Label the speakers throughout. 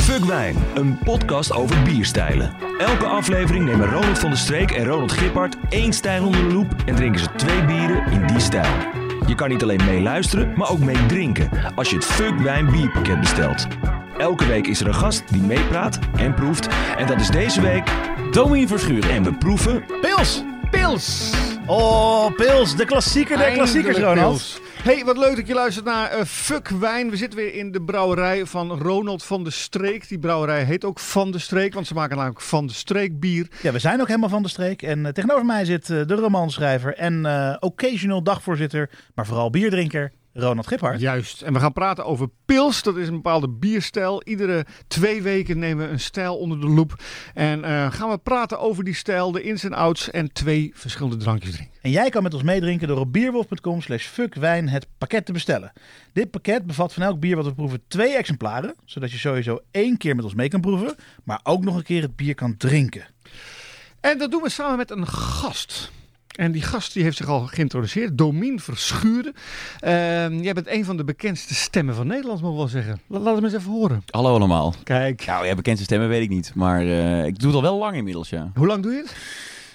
Speaker 1: Fuck Wijn, een podcast over bierstijlen. Elke aflevering nemen Ronald van der Streek en Ronald Gippard één stijl onder de loep en drinken ze twee bieren in die stijl. Je kan niet alleen meeluisteren, maar ook meedrinken als je het Fuck Wijn bierpakket bestelt. Elke week is er een gast die meepraat en proeft. En dat is deze week Domien Verschuren. En we proeven
Speaker 2: Pils! Pils! Oh, Pils, de klassieker der
Speaker 3: Eindelijk
Speaker 2: klassiekers, Ronald.
Speaker 3: Pils. Hey, wat leuk dat je luistert naar eh, Fuck Wijn. We zitten weer in de brouwerij van Ronald van de Streek. Die brouwerij heet ook Van de Streek, want ze maken namelijk Van de Streek bier.
Speaker 2: Ja, we zijn ook helemaal van de streek. En eh, tegenover mij zit eh, de romanschrijver en eh, occasional dagvoorzitter, maar vooral bierdrinker, Ronald Giphart.
Speaker 3: Juist. En we gaan praten over pils. Dat is een bepaalde bierstijl. Iedere twee weken nemen we een stijl onder de loep. En eh, gaan we praten over die stijl, de ins en outs en twee verschillende drankjes drinken.
Speaker 2: En jij kan met ons meedrinken door op bierwolf.com slash fuckwijn het pakket te bestellen. Dit pakket bevat van elk bier wat we proeven twee exemplaren, zodat je sowieso één keer met ons mee kan proeven, maar ook nog een keer het bier kan drinken.
Speaker 3: En dat doen we samen met een gast. En die gast die heeft zich al geïntroduceerd, Domien Verschuren. Eh, jij bent een van de bekendste stemmen van Nederland, moet ik wel zeggen. La- Laat hem eens even horen.
Speaker 4: Hallo allemaal.
Speaker 3: Kijk.
Speaker 4: Nou ja, bekend zijn stemmen weet ik niet, maar eh, ik doe het al wel lang inmiddels, ja.
Speaker 3: Hoe lang doe je het?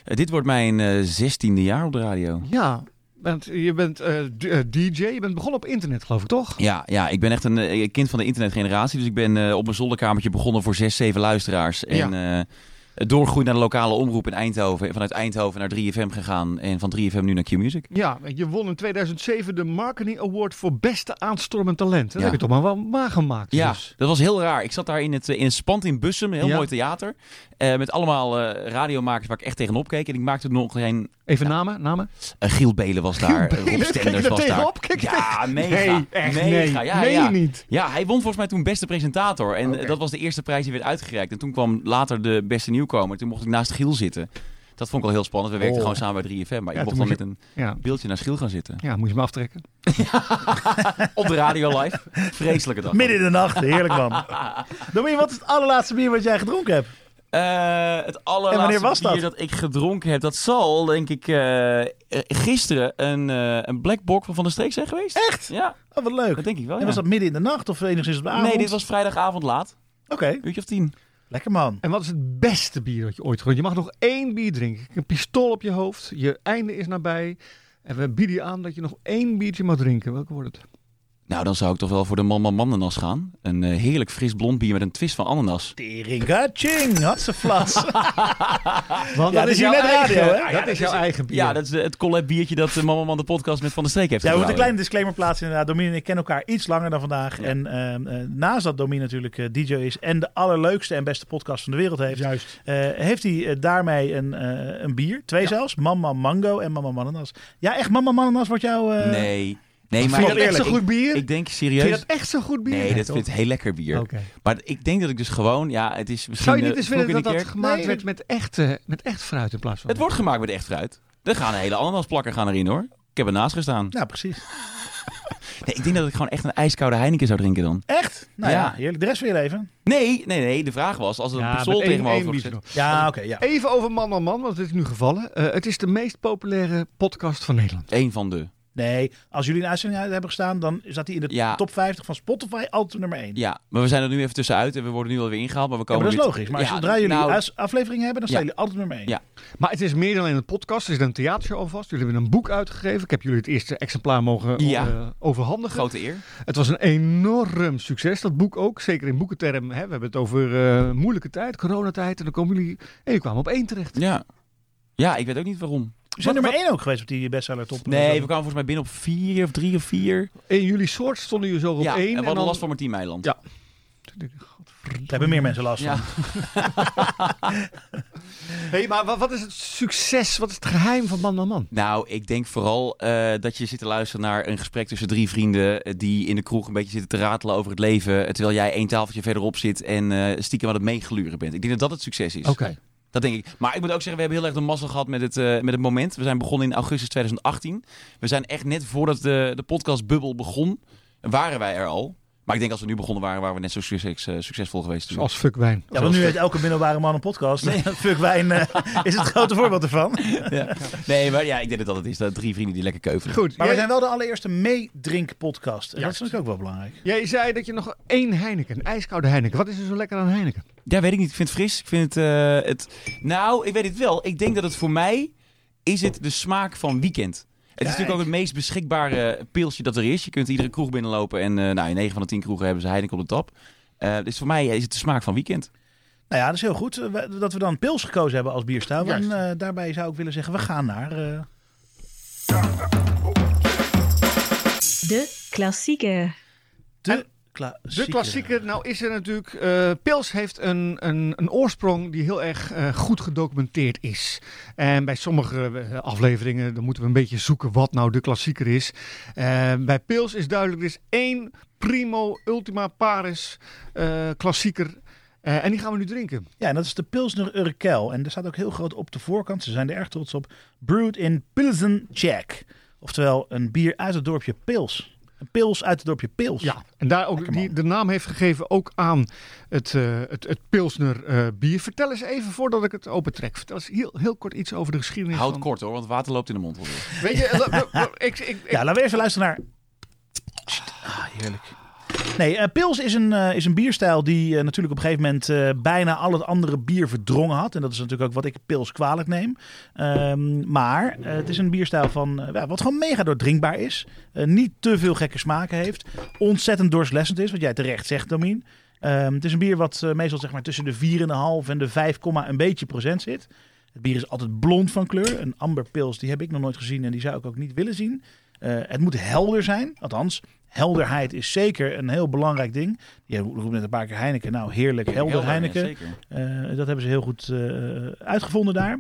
Speaker 4: Eh, dit wordt mijn zestiende jaar op de radio.
Speaker 3: Ja, want je bent eh, d- eh, DJ. Je bent begonnen op internet, geloof ik, toch?
Speaker 4: Ja, ja, ik ben echt een eh, kind van de internetgeneratie, dus ik ben eh, op mijn zolderkamertje begonnen voor zes, zeven luisteraars. En eh doorgroeid naar de lokale omroep in Eindhoven. En vanuit Eindhoven naar 3FM gegaan en van 3FM nu naar Q-Music.
Speaker 3: Ja, je won in 2007 de Marketing Award voor beste aanstormend talent.
Speaker 4: Ja.
Speaker 3: Dat heb je toch maar wel waargemaakt.
Speaker 4: Ja,
Speaker 3: dus.
Speaker 4: dat was heel raar. Ik zat daar in het, eh, in het Spand in Bussum, een heel
Speaker 3: Ja.
Speaker 4: mooi theater. eh, met allemaal eh, radiomakers waar ik echt tegenop keek. En ik maakte er nog geen
Speaker 3: Even namen, namen.
Speaker 4: Eh, Giel Belen was daar.
Speaker 3: Giel Belen,
Speaker 4: Rob
Speaker 3: kijk je
Speaker 4: Stenders
Speaker 3: daar
Speaker 4: was daar.
Speaker 3: tegenop? Kijk je
Speaker 4: ja, mega.
Speaker 3: Nee, echt
Speaker 4: mega.
Speaker 3: nee.
Speaker 4: Ja,
Speaker 3: Meen
Speaker 4: ja.
Speaker 3: je niet?
Speaker 4: Ja, hij won volgens mij toen beste presentator. En eh, dat was de eerste prijs die werd uitgereikt. En toen kwam later de beste nieuwkomer. Toen mocht ik naast Giel zitten. Dat vond ik al heel spannend. We werkten
Speaker 3: Oh.
Speaker 4: gewoon samen bij 3FM. Maar
Speaker 3: Ja,
Speaker 4: ik mocht
Speaker 3: toen
Speaker 4: dan
Speaker 3: moest
Speaker 4: met een
Speaker 3: Ja.
Speaker 4: beeldje naar Giel gaan zitten.
Speaker 3: Ja, moet je me aftrekken.
Speaker 4: Op de radio live. Vreselijke dag.
Speaker 2: Midden in de nacht, heerlijk man. Domien, wat is het allerlaatste bier wat jij gedronken hebt?
Speaker 4: Eh, het allerlaatste
Speaker 2: En wanneer was dat?
Speaker 4: bier dat ik gedronken heb, dat zal denk ik eh, eh, gisteren een, eh, een Black Bock van Van der Streek zijn geweest.
Speaker 2: Echt?
Speaker 4: Ja,
Speaker 2: Oh, wat leuk.
Speaker 4: dat denk ik wel.
Speaker 2: En
Speaker 4: ja.
Speaker 2: was dat midden in de nacht of enigszins op de avond?
Speaker 4: Nee, dit was vrijdagavond laat.
Speaker 2: Oké,
Speaker 4: Uurtje of tien.
Speaker 2: lekker man.
Speaker 3: En wat is het beste bier dat je ooit gedronken hebt? Je mag nog één bier drinken. Een pistool op je hoofd. Je einde is nabij. En we bieden je aan dat je nog één biertje mag drinken. Welke wordt het?
Speaker 4: Nou, dan zou ik toch wel voor de man man mannenas gaan. Een eh, heerlijk fris blond bier met een twist van ananas.
Speaker 2: Tering, had ze flats.
Speaker 3: Want
Speaker 2: Ja, dat is hier net radio, hè?
Speaker 3: Dat is jouw eigen bier.
Speaker 4: Ja, dat is eh, het collab biertje dat de man man man de podcast met Van der Streek heeft
Speaker 2: Ja, we moeten een
Speaker 4: gebrouwen.
Speaker 2: kleine disclaimer plaatsen inderdaad. Domine en ik kennen elkaar iets langer dan vandaag.
Speaker 4: Ja.
Speaker 2: En ehm, eh, naast dat Domine natuurlijk eh, DJ is en de allerleukste en beste podcast van de wereld heeft,
Speaker 3: Juist.
Speaker 2: eh, heeft hij eh, daarmee een, eh, een bier. Twee zelfs. Mama Mango en Mama Mananas. Ja, echt Mama Mananas wordt jouw... eh,
Speaker 4: Nee, nee
Speaker 3: Vind
Speaker 4: maar
Speaker 3: je dat echt
Speaker 4: eerlijk,
Speaker 3: zo'n
Speaker 4: ik-
Speaker 3: goed bier?
Speaker 4: Ik, denk serieus...
Speaker 3: Vind je dat echt zo'n goed bier?
Speaker 4: nee, dat
Speaker 3: toch?
Speaker 4: vind ik heel lekker bier.
Speaker 3: Oké.
Speaker 4: Maar ik denk dat ik dus gewoon... Ja, het is misschien...
Speaker 3: Zou je niet
Speaker 4: eh,
Speaker 3: eens
Speaker 4: vloek
Speaker 3: willen dat
Speaker 4: in de
Speaker 3: dat
Speaker 4: kerk.
Speaker 3: gemaakt
Speaker 2: Nee,
Speaker 3: werd met echt, eh, met echt fruit in plaats van...
Speaker 4: Het wordt gemaakt met echt fruit. Er gaan hele ananasplakken gaan erin, hoor. Ik heb ernaast gestaan.
Speaker 2: Nou, precies.
Speaker 4: Nee, ik denk dat ik gewoon echt een ijskoude Heineken zou drinken dan.
Speaker 2: Echt? Nou ja,
Speaker 4: Ja.
Speaker 2: heerlijk. De rest weer even.
Speaker 4: Nee, nee, nee. De vraag was, als er een
Speaker 3: Ja,
Speaker 4: pistool
Speaker 3: met één-
Speaker 4: tegen me
Speaker 3: één
Speaker 4: over
Speaker 3: biertje
Speaker 4: gezet...
Speaker 3: nog.
Speaker 2: Ja, oké. ja.
Speaker 3: Even over Man aan Man, want het is nu gevallen. Eh, het is de meest populaire podcast van Nederland.
Speaker 4: Eén van de...
Speaker 2: Nee, als jullie een uitzending uit hebben gestaan, dan zat hij in de
Speaker 4: Ja.
Speaker 2: top 50 van Spotify altijd nummer 1.
Speaker 4: Ja, maar we zijn er nu even tussenuit en we worden nu alweer ingehaald. Maar we
Speaker 2: Ja,
Speaker 4: komen
Speaker 2: maar dat is
Speaker 4: weer-
Speaker 2: logisch. Maar
Speaker 4: Ja,
Speaker 2: zodra jullie
Speaker 4: nou,
Speaker 2: huis- afleveringen hebben, dan staan
Speaker 4: Ja.
Speaker 2: jullie altijd nummer 1.
Speaker 4: Ja.
Speaker 3: Maar het is meer dan alleen een podcast. Er is een theatershow alvast. Jullie hebben een boek uitgegeven. Ik heb jullie het eerste exemplaar mogen
Speaker 4: Ja.
Speaker 3: eh, overhandigen.
Speaker 4: Grote eer.
Speaker 3: Het was een enorm succes, dat boek ook. Zeker in boekenterm. Hè. We hebben het over eh, moeilijke tijd, coronatijd. En dan komen jullie... En jullie kwamen op één terecht.
Speaker 4: Ja. Ja, ik weet ook niet waarom.
Speaker 2: We zijn nummer 1 ook geweest op die bestseller top.
Speaker 4: Nee, we kwamen volgens mij binnen op vier of drie of vier.
Speaker 3: In jullie soort stonden jullie zo op
Speaker 4: ja,
Speaker 3: één.
Speaker 4: en we
Speaker 3: en
Speaker 4: hadden
Speaker 3: dan-
Speaker 4: last van Martien Meiland.
Speaker 3: Ja.
Speaker 2: Daar hebben meer mensen last van.
Speaker 4: Ja.
Speaker 3: Hey, maar wa- wat is het succes? Wat is het geheim van Man aan Man?
Speaker 4: Nou, ik denk vooral eh, dat je zit te luisteren naar een gesprek tussen drie vrienden... eh, die in de kroeg een beetje zitten te ratelen over het leven... eh, terwijl jij één tafeltje verderop zit en eh, stiekem aan het meegeluren bent. Ik denk dat dat het succes is. Dat denk ik. Maar ik moet ook zeggen, we hebben heel erg de mazzel gehad met het, eh, met het moment. We zijn begonnen in augustus 2018. We zijn echt net voordat de, de podcastbubbel begon, waren wij er al. Maar ik denk als we nu begonnen waren, waren we net zo succes- eh, succesvol geweest.
Speaker 3: Zoals fuck wijn.
Speaker 2: Ja, want nu heeft elke middelbare man een podcast. Fuck wijn eh, is het grote voorbeeld ervan.
Speaker 4: Ja. Nee, maar ja, ik denk dat dat het is. Dat drie vrienden die lekker keuvelen.
Speaker 3: Goed.
Speaker 2: Maar we
Speaker 3: jij,
Speaker 2: zijn wel de allereerste meedrinkpodcast. En
Speaker 3: Ja.
Speaker 2: dat is natuurlijk ook wel belangrijk.
Speaker 3: jij zei dat je nog één Heineken, een ijskoude Heineken. Wat is er zo lekker aan Heineken?
Speaker 4: Ja, weet ik niet. Ik vind het fris. Ik vind het, eh, het... Nou, ik weet het wel. Ik denk dat het voor mij is het de smaak van weekend. Het is natuurlijk ook het meest beschikbare pilsje dat er is. Je kunt iedere kroeg binnenlopen en eh, nou, in 9 van de 10 kroegen hebben ze Heineken op de tap. Eh, dus voor mij is het de smaak van weekend.
Speaker 2: Nou ja, dat is heel goed eh, we- dat we dan pils gekozen hebben als bierstijl. En
Speaker 3: Juist.
Speaker 2: eh, daarbij zou ik willen zeggen, we gaan naar... eh,
Speaker 5: De klassieke.
Speaker 2: de,
Speaker 3: En-
Speaker 2: klassieker.
Speaker 3: De klassieker, nou is er natuurlijk. eh, Pils heeft een, een, een oorsprong die heel erg eh, goed gedocumenteerd is. En bij sommige eh, afleveringen dan moeten we een beetje zoeken wat nou de klassieker is. Eh, bij Pils is duidelijk, er is één primo, ultima paris eh, klassieker. Eh, en die gaan we nu drinken.
Speaker 2: Ja, en dat is de Pilsner Urkel. En daar staat ook heel groot op de voorkant, ze zijn er erg trots op, brewed in Pilsen Czech. Oftewel, een bier uit het dorpje Pils. Een pils uit het dorpje Pils.
Speaker 3: Ja, en daar ook
Speaker 2: Lekker
Speaker 3: die
Speaker 2: man.
Speaker 3: de naam heeft gegeven ook aan het, eh, het, het Pilsner eh, bier. Vertel eens even, voordat ik het opentrek, vertel eens heel, heel kort iets over de geschiedenis.
Speaker 4: Houd
Speaker 3: van...
Speaker 4: kort hoor, want water loopt in de mond. alweer.
Speaker 3: Weet je, eh, la- la- ik, ik, ik,
Speaker 2: Ja, laten we even luisteren naar. Ah, heerlijk. Nee, eh, pils is een, eh, is een bierstijl die eh, natuurlijk op een gegeven moment eh, bijna al het andere bier verdrongen had. En dat is natuurlijk ook wat ik pils kwalijk neem. Ehm, maar eh, het is een bierstijl van, eh, ja, wat gewoon mega doordrinkbaar is. Eh, niet te veel gekke smaken heeft. Ontzettend doorslessend is, wat jij terecht zegt, Domin. Ehm, het is een bier wat eh, meestal zeg maar, tussen de 4,5 en de 5, komma een beetje procent zit. Het bier is altijd blond van kleur. Een amberpils, die heb ik nog nooit gezien en die zou ik ook niet willen zien. Eh, het moet helder zijn. Althans, helderheid is zeker een heel belangrijk ding. Je roept net een paar keer Heineken. Nou, heerlijk, helder,
Speaker 4: Helder,
Speaker 2: Heineken.
Speaker 4: ja, zeker.
Speaker 2: Eh, dat hebben ze heel goed eh, uitgevonden daar.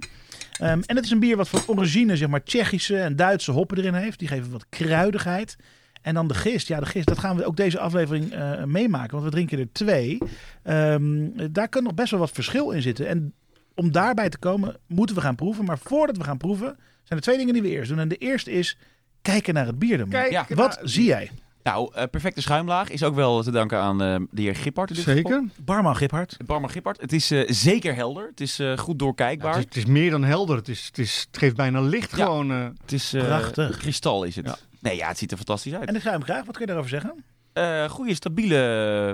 Speaker 2: Ehm, en het is een bier wat van origine, zeg maar, Tsjechische en Duitse hoppen erin heeft. Die geven wat kruidigheid. En dan de gist. Ja, de gist, dat gaan we ook deze aflevering eh, meemaken. Want we drinken er twee. Ehm, daar kan nog best wel wat verschil in zitten. En om daarbij te komen, moeten we gaan proeven. Maar voordat we gaan proeven, zijn er twee dingen die we eerst doen. En de eerste is kijken naar het bier. Domien.
Speaker 3: Kijk,
Speaker 4: Ja.
Speaker 2: Wat
Speaker 3: nou,
Speaker 2: zie jij?
Speaker 4: Nou, eh, perfecte schuimlaag is ook wel te danken aan eh, de heer Gippard. in dit geval.
Speaker 3: Zeker.
Speaker 2: Barman Giphart.
Speaker 4: Barman Gippard. Het is eh, zeker helder. Het is eh, goed
Speaker 3: het,
Speaker 4: doorkijkbaar.
Speaker 3: is, het is meer dan helder. Het, is, het, is, het geeft bijna licht
Speaker 4: Ja.
Speaker 3: gewoon. eh.
Speaker 4: het is eh,
Speaker 2: Prachtig.
Speaker 4: Kristal is het. Nee, ja, het ziet er fantastisch uit.
Speaker 2: En ik ga hem graag. Wat kun je daarover zeggen?
Speaker 4: Eh, goede, stabiele,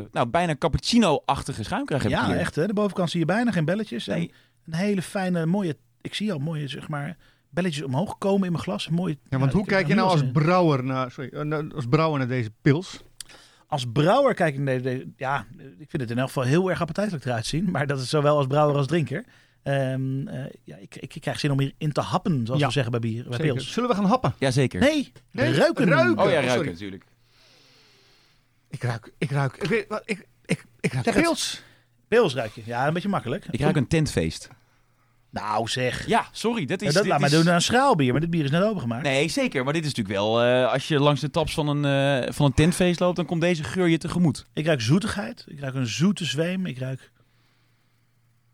Speaker 4: eh, nou bijna cappuccino-achtige schuimkraag heb ik
Speaker 2: Ja,
Speaker 4: hier.
Speaker 2: echt. Hè? De bovenkant zie je bijna geen belletjes. En
Speaker 4: Nee.
Speaker 2: een hele fijne, mooie. Ik zie al mooie, zeg maar, belletjes omhoog komen in mijn glas. Mooi,
Speaker 3: ja, want hoe
Speaker 2: ik-
Speaker 3: kijk je nou als
Speaker 2: in.
Speaker 3: brouwer naar, sorry, eh, naar- als brouwer naar deze pils?
Speaker 2: als brouwer kijk ik naar deze. Ja, ik vind het in elk geval heel erg appetijtelijk eruit zien. Maar dat is zowel als brouwer als drinker. Ehm, eh, ja, ik, ik, ik krijg zin om hierin te happen, zoals
Speaker 3: Ja.
Speaker 2: we zeggen bij bier, bij
Speaker 3: Zeker.
Speaker 2: pils.
Speaker 3: Zullen we gaan happen?
Speaker 4: Jazeker.
Speaker 2: Nee,
Speaker 3: Nee,
Speaker 2: ruiken.
Speaker 3: ruiken.
Speaker 4: Oh ja,
Speaker 3: Sorry.
Speaker 4: ruiken natuurlijk.
Speaker 3: Ik ruik, ik ruik, ik, weet- wat- ik, ik, ik ruik
Speaker 2: Zeg het.
Speaker 3: pils.
Speaker 2: Pils ruik je. Ja, een beetje makkelijk.
Speaker 4: Ik ruik een tentfeest.
Speaker 2: Nou zeg.
Speaker 4: Ja, sorry. Dit is,
Speaker 2: Ja, dat
Speaker 4: dit
Speaker 2: laat maar
Speaker 4: is-
Speaker 2: doen aan schraalbier, maar dit bier is net opengemaakt.
Speaker 4: Nee, zeker. Maar dit is natuurlijk wel... eh, als je langs de taps van een, eh, van een tentfeest loopt, dan komt deze geur je tegemoet.
Speaker 2: Ik ruik zoetigheid. Ik ruik een zoete zweem. Ik ruik...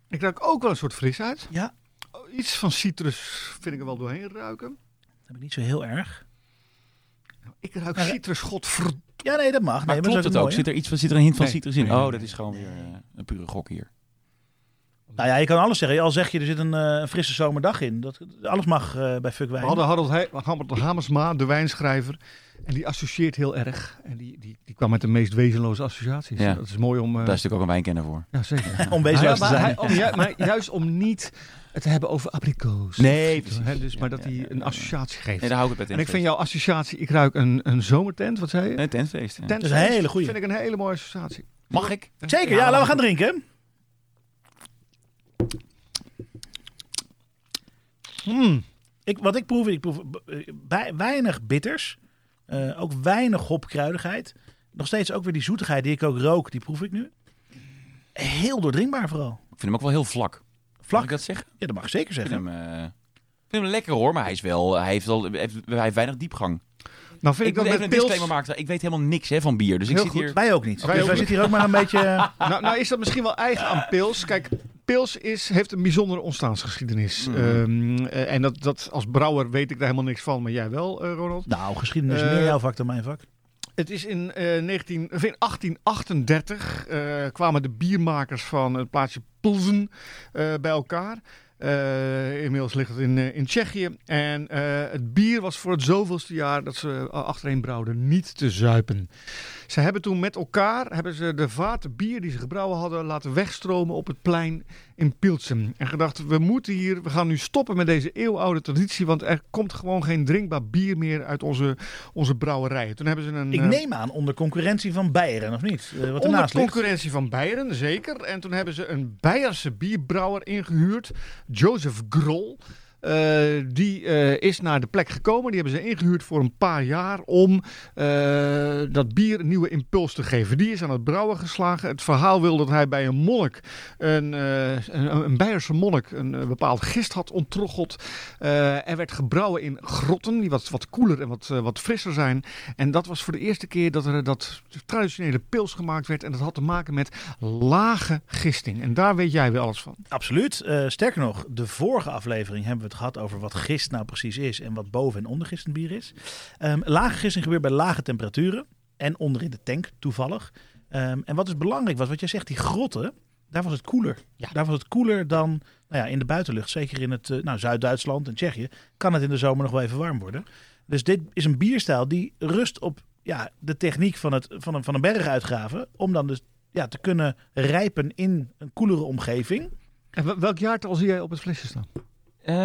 Speaker 3: Ik ruik ook wel een soort frisheid.
Speaker 2: Ja,
Speaker 3: Oh, Iets van citrus vind ik er wel doorheen ruiken.
Speaker 2: dat heb ik niet zo heel erg.
Speaker 3: Ik ruik
Speaker 2: Maar-
Speaker 3: citrus, godverd...
Speaker 2: Ja, nee, dat mag.
Speaker 4: Maar
Speaker 2: nee,
Speaker 4: klopt
Speaker 2: dat
Speaker 4: het
Speaker 2: is
Speaker 4: ook?
Speaker 2: mooi, hè?
Speaker 4: Zit er, iets, van- zit er een hint van
Speaker 3: Nee.
Speaker 4: citrus in?
Speaker 3: Nee,
Speaker 4: oh,
Speaker 3: nee,
Speaker 4: dat is gewoon weer eh, een pure gok hier.
Speaker 2: Nou ja, je kan alles zeggen. Al zeg je, er zit een eh, frisse zomerdag in. Dat, alles mag eh, bij Fuck
Speaker 3: We
Speaker 2: Wijn.
Speaker 3: hadden Harold He- Hammert- Hamersma, de wijnschrijver. En die associeert heel erg. En die, die, die kwam met de meest wezenloze associaties.
Speaker 4: Ja.
Speaker 3: Dat is mooi om... eh,
Speaker 4: Daar is natuurlijk ook een wijnkenner voor.
Speaker 3: Nou Ja, zeker.
Speaker 2: Om wezenloos
Speaker 3: maar,
Speaker 2: te zijn.
Speaker 3: hij- om ju- maar juist om niet het te hebben over abrikoos.
Speaker 4: Nee,
Speaker 3: Of-
Speaker 4: precies.
Speaker 3: hè, dus, maar
Speaker 4: Ja,
Speaker 3: dat
Speaker 4: ja,
Speaker 3: hij
Speaker 4: ja,
Speaker 3: een
Speaker 4: ja.
Speaker 3: associatie geeft.
Speaker 4: Nee, daar hou ik het bij
Speaker 3: en ik
Speaker 4: tentfeest.
Speaker 3: vind jouw associatie, ik ruik een, een zomertent, wat zei je?
Speaker 4: Een tentfeest. ja.
Speaker 3: Tent
Speaker 2: Dat is een hele goeie.
Speaker 3: vind ik een hele mooie associatie.
Speaker 4: Mag ik?
Speaker 2: Zeker, ja, laten we gaan drinken.
Speaker 3: Mm.
Speaker 2: Ik, wat ik proef, ik proef eh, bij- weinig bitters. eh, ook weinig hopkruidigheid. Nog steeds ook weer die zoetigheid die ik ook rook, die proef ik nu. Heel doordringbaar vooral.
Speaker 4: Ik vind hem ook wel heel vlak. Mag
Speaker 2: Vlak,
Speaker 4: ik dat zeggen?
Speaker 2: ja, dat mag ik zeker
Speaker 4: Ik
Speaker 2: zeggen.
Speaker 4: vind hem, eh, ik vind hem lekker hoor, maar hij is wel, hij heeft, al, hij heeft, hij heeft weinig diepgang.
Speaker 3: Nou vind
Speaker 4: Ik, moet
Speaker 3: ik, dat
Speaker 4: even
Speaker 3: met
Speaker 4: een
Speaker 3: pils...
Speaker 4: disclaimer maken. Ik weet helemaal niks hè, van bier, dus ik
Speaker 3: Heel
Speaker 4: zit
Speaker 3: goed.
Speaker 4: hier.
Speaker 2: Wij ook niet.
Speaker 3: Wij
Speaker 2: dus
Speaker 3: ook
Speaker 2: wij
Speaker 3: niet.
Speaker 2: zitten hier ook maar een beetje...
Speaker 3: Nou, nou is dat misschien wel eigen aan Pils. Kijk, Pils is, heeft een bijzondere ontstaansgeschiedenis.
Speaker 4: Mm.
Speaker 3: Ehm, eh, en dat, dat als brouwer weet ik daar helemaal niks van, maar jij wel, eh, Ronald.
Speaker 2: Nou, geschiedenis is
Speaker 3: Eh,
Speaker 2: meer jouw vak dan mijn vak.
Speaker 3: Het is in eh, 19, of in 1838 eh, kwamen de biermakers van het plaatsje Plzen eh, bij elkaar. Eh, inmiddels ligt het in, eh, in Tsjechië. En eh, het bier was voor het zoveelste jaar dat ze eh, achtereen brouwden niet te zuipen. Ze hebben toen met elkaar hebben ze de vaten bier die ze gebrouwen hadden laten wegstromen op het plein in Pilsen. En gedacht, we moeten hier, we gaan nu stoppen met deze eeuwenoude traditie, want er komt gewoon geen drinkbaar bier meer uit onze, onze brouwerijen. Toen hebben ze een...
Speaker 2: Ik
Speaker 3: eh,
Speaker 2: neem aan onder concurrentie van Beieren, of niet? Eh, wat
Speaker 3: Onder
Speaker 2: ernaast ligt.
Speaker 3: concurrentie van Beieren, zeker. En toen hebben ze een Beierse bierbrouwer ingehuurd, Joseph Grol. Eh, die eh, is naar de plek gekomen. Die hebben ze ingehuurd voor een paar jaar om eh, dat bier een nieuwe impuls te geven. Die is aan het brouwen geslagen. Het verhaal wil dat hij bij een monnik, een, eh, een, een Beierse monnik, een, eh, bepaald gist had ontroggeld. Eh, er werd gebrouwen in grotten, die wat, wat koeler en wat, eh, wat frisser zijn. En dat was voor de eerste keer dat er dat traditionele pils gemaakt werd. En dat had te maken met lage gisting. En daar weet jij weer alles van.
Speaker 2: Absoluut. Eh, sterker nog, de vorige aflevering hebben we het gehad over wat gist nou precies is en wat boven- en ondergistend bier is. Ehm, lage gisting gebeurt bij lage temperaturen en onder in de tank, toevallig. Ehm, en wat dus belangrijk was, wat jij zegt, die grotten, daar was het koeler.
Speaker 3: Ja.
Speaker 2: Daar was het koeler dan nou ja, in de buitenlucht. Zeker in het eh, nou, Zuid-Duitsland en Tsjechië kan het in de zomer nog wel even warm worden. Dus dit is een bierstijl die rust op ja, de techniek van, het, van, een, van een berg uitgraven. Om dan dus ja, te kunnen rijpen in een koelere omgeving.
Speaker 3: En wel- welk jaartal zie jij op het flesje staan?
Speaker 4: Eh,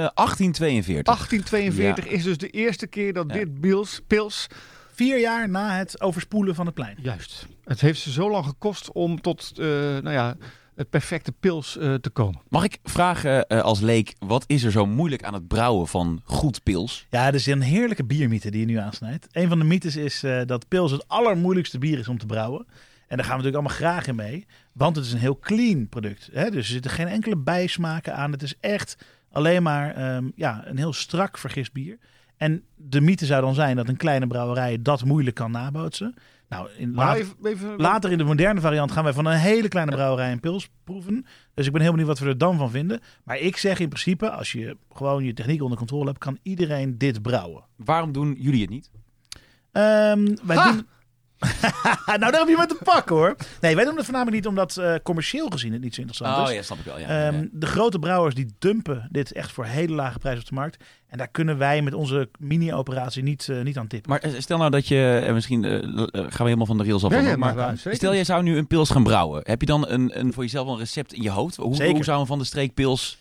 Speaker 4: 1842.
Speaker 3: 1842 is dus de eerste keer dat
Speaker 4: Ja.
Speaker 3: dit pils, pils...
Speaker 2: Vier jaar na het overspoelen van het plein.
Speaker 3: Juist. Het heeft ze zo lang gekost om tot eh, nou ja, het perfecte pils eh, te komen.
Speaker 4: Mag ik vragen eh, als leek, wat is er zo moeilijk aan het brouwen van goed pils?
Speaker 2: Ja, er is een heerlijke biermythe die je nu aansnijdt. Een van de mythes is eh, dat pils het allermoeilijkste bier is om te brouwen. En daar gaan we natuurlijk allemaal graag in mee. Want het is een heel clean product. Hè? Dus er zitten geen enkele bijsmaken aan. Het is echt alleen maar ehm, ja, een heel strak vergist bier. En de mythe zou dan zijn dat een kleine brouwerij dat moeilijk kan nabootsen. Nou, in
Speaker 3: Maar
Speaker 2: later,
Speaker 3: even, even,
Speaker 2: later in de moderne variant gaan wij van een hele kleine brouwerij een pils proeven. Dus ik ben heel benieuwd wat we er dan van vinden. Maar ik zeg in principe, als je gewoon je techniek onder controle hebt, kan iedereen dit brouwen.
Speaker 4: Waarom doen jullie het niet?
Speaker 2: Ehm, wij
Speaker 3: Ha!
Speaker 2: doen... nou, daar heb je met te pakken hoor. Nee, wij doen het voornamelijk niet omdat eh, commercieel gezien het niet zo interessant is.
Speaker 4: Oh ja, snap ik wel. Ja, ja, ja.
Speaker 2: Ehm, De grote brouwers die dumpen dit echt voor hele lage prijzen op de markt. En daar kunnen wij met onze mini-operatie niet, eh, niet aan tippen.
Speaker 4: Maar eh, stel nou dat je, eh, misschien eh, l- eh, gaan we helemaal van de rails af.
Speaker 3: Ja, ja,
Speaker 4: hoor,
Speaker 3: maar waar- zeker.
Speaker 4: stel jij zou nu een pils gaan brouwen. Heb je dan een, een, voor jezelf wel een recept in je hoofd? Hoe,
Speaker 2: Zeker.
Speaker 4: hoe zou een van de streek pils...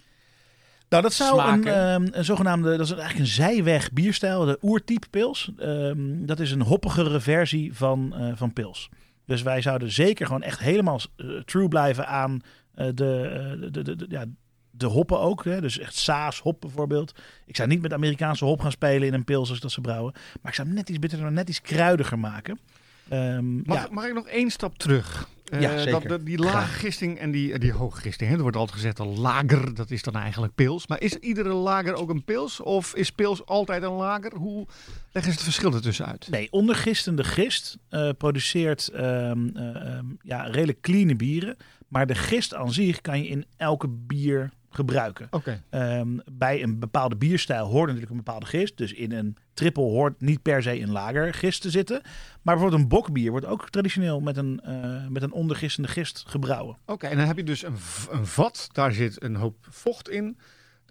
Speaker 2: Nou, dat zou een,
Speaker 4: Smaken.
Speaker 2: ehm, een zogenaamde, dat is eigenlijk een zijweg bierstijl, de oertype pils. Ehm, dat is een hoppigere versie van, eh, van pils. Dus wij zouden zeker gewoon echt helemaal eh, true blijven aan eh, de, eh, de, de, de- ja, de hoppen ook. Hè? Dus echt Saas hop bijvoorbeeld. Ik zou niet met Amerikaanse hop gaan spelen in een pils als dat ze brouwen. Maar ik zou hem net iets bitterder, net iets kruidiger maken. Ehm,
Speaker 3: Mag,
Speaker 2: ja,
Speaker 3: mag ik nog één stap terug? Eh,
Speaker 2: Ja, zeker.
Speaker 3: Dat, dat- die laaggisting en die, eh, die hooggisting. Hè? Er wordt altijd gezegd, een lager, dat is dan eigenlijk pils. Maar is iedere lager ook een pils? Of is pils altijd een lager? Hoe leggen ze het verschil ertussen uit?
Speaker 2: Nee, ondergistende gist eh, produceert ehm, eh, ehm, ja, redelijk clean bieren. Maar de gist aan zich kan je in elke bier gebruiken.
Speaker 3: Oké.
Speaker 2: Ehm, bij een bepaalde bierstijl hoort natuurlijk een bepaalde gist. Dus in een triple hoort niet per se een lager gist te zitten. Maar bijvoorbeeld een bokbier wordt ook traditioneel met een, eh, met een ondergistende gist gebrouwen.
Speaker 3: Oké, en dan heb je dus een, v- een vat. Daar zit een hoop vocht in.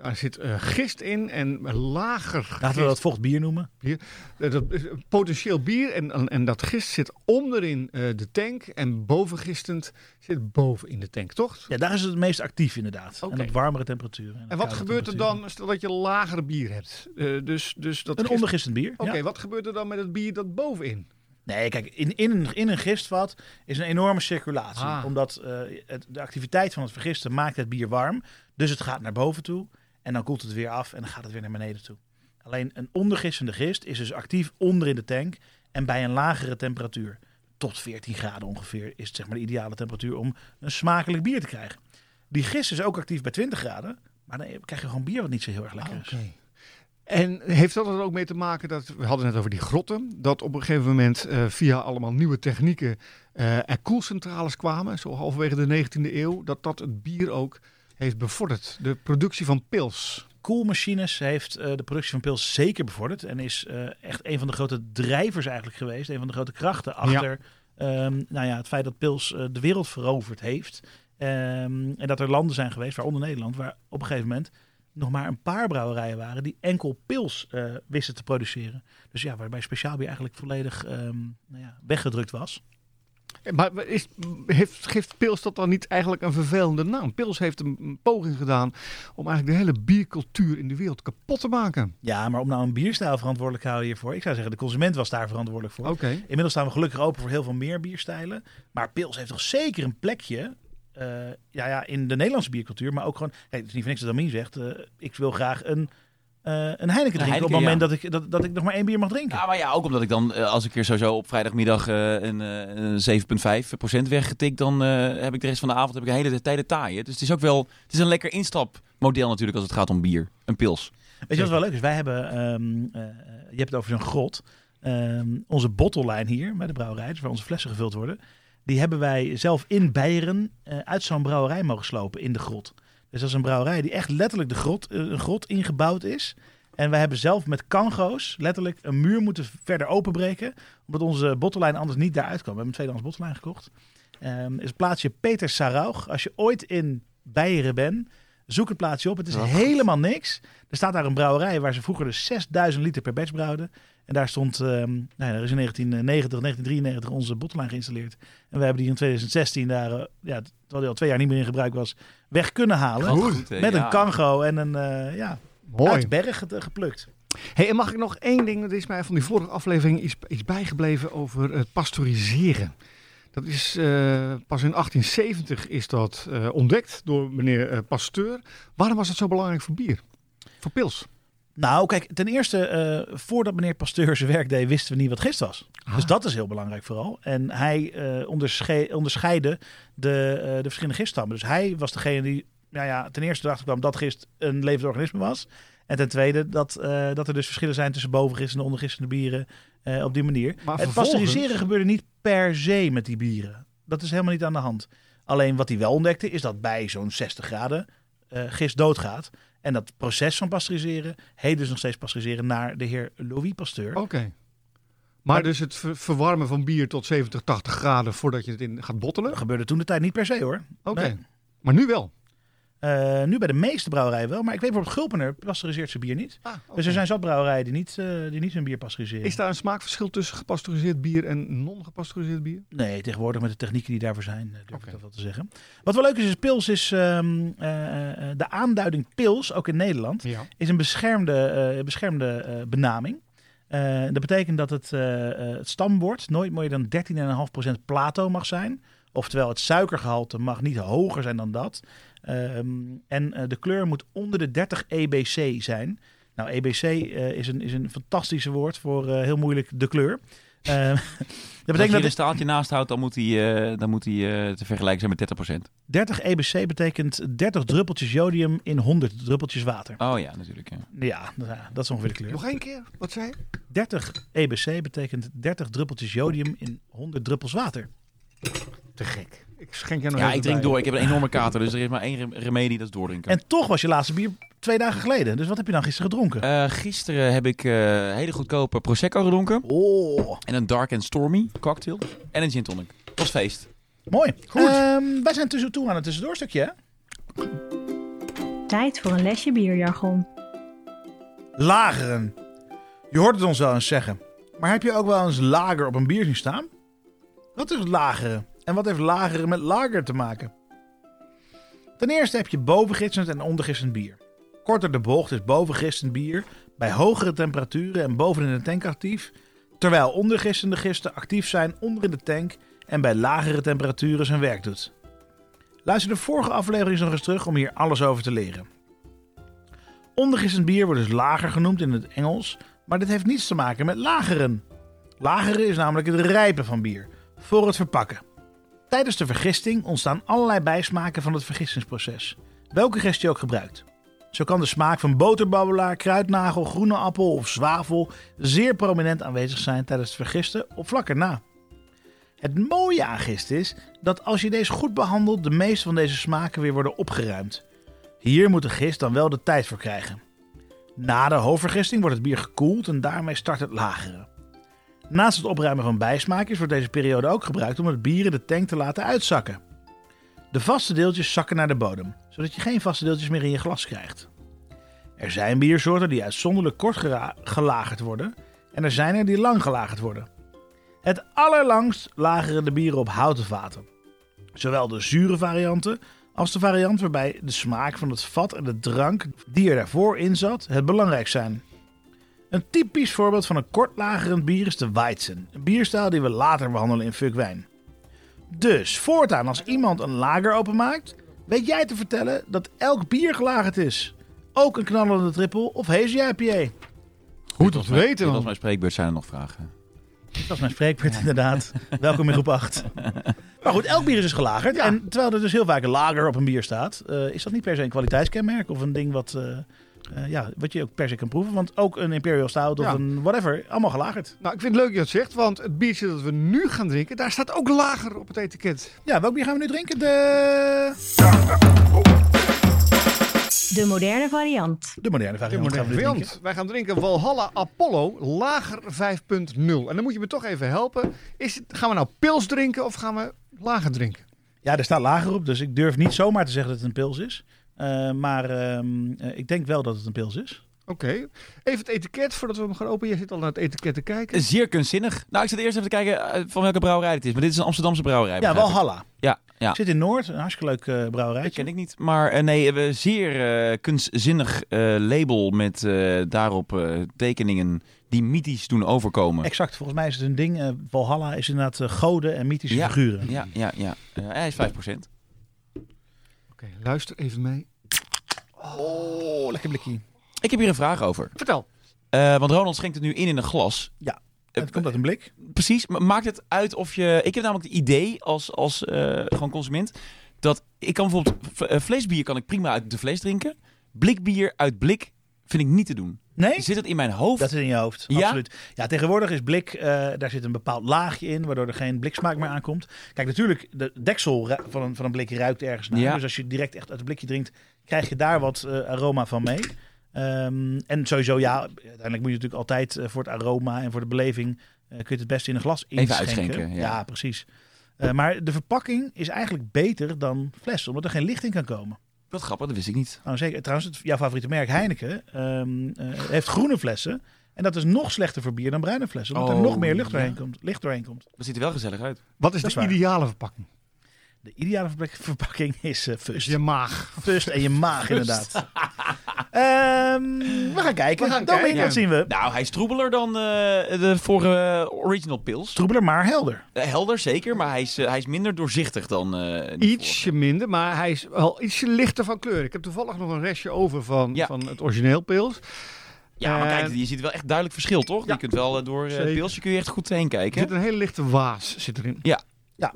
Speaker 3: Daar zit eh, gist in en een lager
Speaker 2: Laten we dat vocht bier noemen.
Speaker 3: Eh, Dat is een potentieel bier en, en- en dat gist zit onderin eh, de tank en bovengistend zit boven in de tank, toch?
Speaker 2: Ja, daar is het het meest actief inderdaad.
Speaker 3: Oké.
Speaker 2: En op warmere temperaturen. op
Speaker 3: En wat
Speaker 2: koude
Speaker 3: gebeurt er
Speaker 2: temperaturen.
Speaker 3: dan, stel dat je lager bier hebt? Eh, dus, dus dat
Speaker 2: Een
Speaker 3: gist-
Speaker 2: ondergistend bier.
Speaker 3: Oké,
Speaker 2: ja.
Speaker 3: wat gebeurt er dan met het bier dat bovenin?
Speaker 2: Nee, kijk, in, in, een, in een gistvat is een enorme circulatie.
Speaker 3: Ah.
Speaker 2: Omdat eh, het, de activiteit van het vergisten maakt het bier warm. Dus het gaat naar boven toe en dan koelt het weer af en dan gaat het weer naar beneden toe. Alleen een ondergissende gist is dus actief onder in de tank en bij een lagere temperatuur. Tot 14 graden ongeveer is het zeg maar de ideale temperatuur om een smakelijk bier te krijgen. Die gist is ook actief bij 20 graden, maar dan krijg je gewoon bier wat niet zo heel erg
Speaker 3: Ah,
Speaker 2: lekker is.
Speaker 3: En heeft dat er ook mee te maken dat, we hadden het net over die grotten, dat op een gegeven moment eh, via allemaal nieuwe technieken eh er koelcentrales kwamen, zo halverwege de 19e eeuw, dat dat het bier ook heeft bevorderd, de productie van pils.
Speaker 2: koelmachines heeft eh, de productie van pils zeker bevorderd. En is eh, echt een van de grote drijvers eigenlijk geweest. Een van de grote krachten achter ehm, nou ja, het feit dat pils eh, de wereld veroverd heeft. Ehm, en dat er landen zijn geweest, waaronder Nederland, waar op een gegeven moment nog maar een paar brouwerijen waren die enkel pils eh, wisten te produceren. Dus ja, waarbij speciaalbier eigenlijk volledig ehm, nou ja, weggedrukt was.
Speaker 3: Eh, Maar is, heeft, geeft Pils dat dan niet eigenlijk een vervelende naam? Pils heeft een, een poging gedaan om eigenlijk de hele biercultuur in de wereld kapot te maken.
Speaker 2: Ja, maar om nou een bierstijl verantwoordelijk te houden hiervoor, ik zou zeggen de consument was daar verantwoordelijk voor.
Speaker 3: Oké.
Speaker 2: Inmiddels staan we gelukkig open voor heel veel meer bierstijlen. Maar pils heeft toch zeker een plekje eh, ja, ja, in de Nederlandse biercultuur. Maar ook gewoon, hey, het is niet voor niks dat Amin zegt, eh, ik wil graag een, eh, een Heineken drinken op
Speaker 4: Heineken,
Speaker 2: het moment
Speaker 4: ja.
Speaker 2: dat, ik, dat, dat ik nog maar één bier mag drinken.
Speaker 4: Ja, maar ja, ook omdat ik dan, eh, als ik er sowieso op vrijdagmiddag eh, een, eh, een 7,5% weggetikt, dan eh, heb ik de rest van de avond heb ik de hele tijd de taaien. Dus het is ook wel, het is een lekker instapmodel natuurlijk als het gaat om bier. Een pils.
Speaker 2: Weet je wat wel leuk is? Wij hebben, ehm, eh, je hebt het over zo'n grot. Ehm, onze bottellijn hier bij de brouwerij, dus waar onze flessen gevuld worden, die hebben wij zelf in Beieren eh, uit zo'n brouwerij mogen slopen in de grot. Dus dat is een brouwerij die echt letterlijk de grot, eh, een grot ingebouwd is. En wij hebben zelf met kango's letterlijk een muur moeten verder openbreken. Omdat onze bottellijn anders niet daaruit kwam. We hebben een tweedehands bottellijn gekocht. Ehm is het plaatsje Peter Saraug. Als je ooit in Beieren bent, zoek het plaatsje op. Het is
Speaker 4: Oh, God.
Speaker 2: helemaal niks. Er staat daar een brouwerij waar ze vroeger dus 6000 liter per batch brouwden. En daar stond, ehm nou, ja, er is in 1990, 1993 onze bottellijn geïnstalleerd. En we hebben die in 2016, daar, eh, ja, terwijl die al twee jaar niet meer in gebruik was, weg kunnen halen.
Speaker 4: Gaat goed, hè?
Speaker 2: Met
Speaker 4: eh, Ja.
Speaker 2: een kango en een, eh, ja,
Speaker 3: Mooi.
Speaker 2: uit berg ge- geplukt.
Speaker 3: Hey, en mag ik nog één ding? Er is mij van die vorige aflevering iets, iets bijgebleven over het pasteuriseren. Dat is eh, pas in 1870 is dat eh, ontdekt door meneer eh, Pasteur. Waarom was dat zo belangrijk voor bier? Voor pils?
Speaker 2: Nou, kijk, ten eerste, eh, voordat meneer Pasteur zijn werk deed, wisten we niet wat gist was.
Speaker 3: Ah.
Speaker 2: Dus dat is heel belangrijk vooral. En hij eh, ondersche- onderscheidde de, eh, de verschillende giststammen. Dus hij was degene die, nou ja, ten eerste erachter kwam dat gist een levend organisme was. En ten tweede dat, eh, dat er dus verschillen zijn tussen bovengistende en ondergistende bieren eh, op die manier.
Speaker 3: Maar
Speaker 2: het
Speaker 3: vervolgens-
Speaker 2: pasteuriseren gebeurde niet per se met die bieren. Dat is helemaal niet aan de hand. Alleen wat hij wel ontdekte is dat bij zo'n 60 graden eh, gist doodgaat. En dat proces van pasteuriseren heet dus nog steeds pasteuriseren naar de heer Louis Pasteur.
Speaker 3: Oké. Maar, dus het ver- verwarmen van bier tot 70, 80 graden voordat je het in gaat bottelen?
Speaker 2: Dat
Speaker 3: Oké.
Speaker 2: gebeurde toen de tijd niet per se hoor. Nee.
Speaker 3: Maar nu wel.
Speaker 2: Eh, nu bij de meeste brouwerijen wel, maar ik weet bijvoorbeeld Gulpener pasteuriseert zijn bier niet.
Speaker 3: Ah,
Speaker 2: Dus er zijn zat brouwerijen die niet, eh, die niet hun bier pasteuriseren.
Speaker 3: Is daar een smaakverschil tussen gepasteuriseerd bier en non-gepasteuriseerd bier?
Speaker 2: Nee, tegenwoordig met de technieken die daarvoor zijn, eh, durf
Speaker 3: Oké.
Speaker 2: ik dat wel te zeggen. Wat wel leuk is, is pils is ehm, eh, eh, de aanduiding pils, ook in Nederland,
Speaker 3: Ja.
Speaker 2: is een beschermde, eh, beschermde eh, benaming. Eh, dat betekent dat het, eh, eh, het stamwoord nooit meer dan 13,5% plato mag zijn. Oftewel, het suikergehalte mag niet hoger zijn dan dat. Ehm, en eh, de kleur moet onder de 30 EBC zijn. Nou, EBC eh, is, een, is een fantastische woord voor eh, heel moeilijk de kleur. Ehm, dat
Speaker 4: Als je
Speaker 2: betekent
Speaker 4: er
Speaker 2: dat
Speaker 4: een straaltje naast houdt, dan moet hij eh, dan moet hij eh, te vergelijken zijn met 30%.
Speaker 2: 30 EBC E betekent 30 druppeltjes jodium in 100 druppeltjes water.
Speaker 4: Oh ja, natuurlijk. Ja.
Speaker 2: Ja, nou ja, dat is ongeveer de kleur.
Speaker 3: Nog één keer? Wat zei je?
Speaker 2: 30 EBC E betekent 30 druppeltjes jodium in 100 druppels water.
Speaker 3: Te gek. Ik schenk jou nog
Speaker 4: ja,
Speaker 3: even
Speaker 4: ik drink
Speaker 3: bij.
Speaker 4: door. Ik heb een enorme kater, dus er is maar één rem- remedie, dat is doordrinken.
Speaker 2: En toch was je laatste bier twee dagen geleden. Dus wat heb je dan gisteren gedronken?
Speaker 4: Eh, gisteren heb ik eh, hele goedkope Prosecco gedronken.
Speaker 2: oh,
Speaker 4: En een Dark and Stormy cocktail. En een gin tonic. Het was feest.
Speaker 2: mooi.
Speaker 3: Goed.
Speaker 2: Ehm, wij zijn tussen toe aan het tussendoorstukje. hè?
Speaker 5: Tijd voor een lesje bierjargon.
Speaker 2: Lageren. Je hoort het ons wel eens zeggen. Maar heb je ook wel eens lager op een bier zien staan? Wat is lageren? En wat heeft lageren met lager te maken? Ten eerste heb je bovengistend en ondergistend bier. Korter de bocht is bovengistend bier bij hogere temperaturen en boven in de tank actief, terwijl ondergistende gisten actief zijn onder in de tank en bij lagere temperaturen zijn werk doet. Luister de vorige aflevering nog eens terug om hier alles over te leren. Ondergistend bier wordt dus lager genoemd in het Engels, maar dit heeft niets te maken met lageren. Lageren is namelijk het rijpen van bier, voor het verpakken. Tijdens de vergisting ontstaan allerlei bijsmaken van het vergistingsproces, welke gist je ook gebruikt. Zo kan de smaak van boterbabbelaar, kruidnagel, groene appel of zwavel zeer prominent aanwezig zijn tijdens het vergisten of vlak erna. Het mooie aan gist is dat als je deze goed behandelt, de meeste van deze smaken weer worden opgeruimd. Hier moet de gist dan wel de tijd voor krijgen. Na de hoofdvergisting wordt het bier gekoeld en daarmee start het lagere. Naast het opruimen van bijsmaakjes wordt deze periode ook gebruikt om het bier in de tank te laten uitzakken. De vaste deeltjes zakken naar de bodem, zodat je geen vaste deeltjes meer in je glas krijgt. Er zijn biersoorten die uitzonderlijk kort gera- gelagerd worden en er zijn er die lang gelagerd worden. Het allerlangst lageren de bieren op houten vaten. Zowel de zure varianten als de variant waarbij de smaak van het vat en de drank die er daarvoor in zat het belangrijk zijn. Een typisch voorbeeld van een kort lagerend bier is de Weizen, een bierstijl die we later behandelen in Fuck Wijn. Dus voortaan als iemand een lager openmaakt, weet jij te vertellen dat elk bier gelagerd is. Ook een knallende triple of hazy IPA.
Speaker 3: Goed om te weten,
Speaker 4: Volgens
Speaker 3: man.
Speaker 4: mijn spreekbeurt zijn er nog vragen.
Speaker 2: Dat is mijn spreekbeurt inderdaad. Welkom in groep 8. Maar goed, elk bier is dus gelagerd. En terwijl er dus heel vaak een lager op een bier staat, eh, is dat niet per se een kwaliteitskenmerk of een ding wat, eh, eh, ja, wat je ook per se kan proeven. Want ook een Imperial Stout of
Speaker 3: Ja.
Speaker 2: een whatever, allemaal gelagerd.
Speaker 3: Nou, ik vind het leuk dat je dat zegt, want het biertje dat we nu gaan drinken, daar staat ook lager op het etiket.
Speaker 2: Ja, welk bier gaan we nu drinken? De,
Speaker 5: De moderne variant.
Speaker 2: de moderne variant. gaan we nu drinken.
Speaker 3: Want wij gaan drinken Valhalla Apollo lager 5.0. En dan moet je me toch even helpen. Is het, gaan we nou pils drinken of gaan we lager drinken?
Speaker 2: Ja, er staat lager op, dus ik durf niet zomaar te zeggen dat het een pils is. Eh, maar ehm, eh, ik denk wel dat het een pils is.
Speaker 3: Oké. Even het etiket voordat we hem gaan openen. Jij zit al naar het etiket te kijken.
Speaker 4: Zeer kunstzinnig. Nou, ik zat eerst even te kijken eh, van welke brouwerij het is. Maar dit is een Amsterdamse brouwerij.
Speaker 2: Ja, Ah.
Speaker 4: begrijp
Speaker 2: wel
Speaker 4: ik.
Speaker 2: Halla.
Speaker 4: Ja, ja.
Speaker 2: Zit in Noord, een hartstikke leuk eh
Speaker 4: Dat
Speaker 2: brouwerijtje.
Speaker 4: ken ik niet. Maar eh, nee, we zeer eh, kunstzinnig eh, label met eh, daarop eh, tekeningen die mythisch doen overkomen.
Speaker 2: Exact, volgens mij is het een ding. eh, Valhalla is inderdaad eh, goden en mythische
Speaker 4: Ja.
Speaker 2: figuren.
Speaker 4: ja, ja, ja. Eh, hij is 5%.
Speaker 3: Oké, luister even mee.
Speaker 2: Oh, lekker blikkie.
Speaker 4: Ik heb hier een vraag over.
Speaker 3: Vertel.
Speaker 4: Eh, want Ronald schenkt het nu in in een glas.
Speaker 2: Ja,
Speaker 4: Eh,
Speaker 2: het komt uit een blik.
Speaker 4: Precies, maar maakt het uit of je... Ik heb namelijk het idee als, als eh, gewoon consument... dat ik kan bijvoorbeeld... v- eh, vleesbier kan ik prima uit de vlees drinken. Blikbier uit blik vind ik niet te doen.
Speaker 2: Nee?
Speaker 4: Zit het in mijn hoofd?
Speaker 2: Dat is in je hoofd,
Speaker 4: Ja?
Speaker 2: absoluut. Ja, tegenwoordig is blik, eh, daar zit een bepaald laagje in, waardoor er geen bliksmaak meer aankomt. Kijk, natuurlijk, de deksel ru- van een, van een blik ruikt ergens naar.
Speaker 4: Ja.
Speaker 2: Dus als je direct echt uit het blikje drinkt, krijg je daar wat eh, aroma van mee. Ehm, en sowieso, ja, uiteindelijk moet je natuurlijk altijd eh, voor het aroma en voor de beleving, eh, kun je het het beste in een glas inschenken.
Speaker 4: uitschenken, ja.
Speaker 2: precies. Eh, maar de verpakking is eigenlijk beter dan fles, omdat er geen licht in kan komen.
Speaker 4: Wat grappig, dat wist ik niet.
Speaker 2: Nou, zeker. Trouwens, het, jouw favoriete merk Heineken ehm, eh, heeft groene flessen. En dat is nog slechter voor bier dan bruine flessen. Omdat er
Speaker 4: Oh,
Speaker 2: nog meer lucht
Speaker 4: ja.
Speaker 2: doorheen, komt, licht doorheen komt.
Speaker 4: Dat ziet er wel gezellig uit.
Speaker 3: Wat is
Speaker 2: Dat is
Speaker 3: de
Speaker 2: waar.
Speaker 3: ideale verpakking?
Speaker 2: De ideale verpak- verpakking is eh fust.
Speaker 3: Je maag.
Speaker 2: Fust en je maag, inderdaad. Ehm, we gaan kijken.
Speaker 3: We gaan
Speaker 2: Dominic,
Speaker 3: kijken.
Speaker 2: dat zien we.
Speaker 4: Nou, hij is troebeler dan eh, de vorige eh, original pils.
Speaker 2: Troebeler, maar helder.
Speaker 4: Eh, helder, zeker, maar hij is, eh, hij is minder doorzichtig dan... eh, die vorige.
Speaker 3: Ietsje minder, maar hij is wel ietsje lichter van kleur. Ik heb toevallig nog een restje over van,
Speaker 4: Ja.
Speaker 3: van het origineel pils.
Speaker 4: Ja, maar
Speaker 3: Eh,
Speaker 4: kijk, je ziet wel echt duidelijk verschil, toch? Je kunt wel eh, door eh, het
Speaker 3: Zeker.
Speaker 4: pilsje kun je echt goed heen
Speaker 3: Er zit
Speaker 4: kijken.
Speaker 3: een hele lichte waas zit erin.
Speaker 2: Het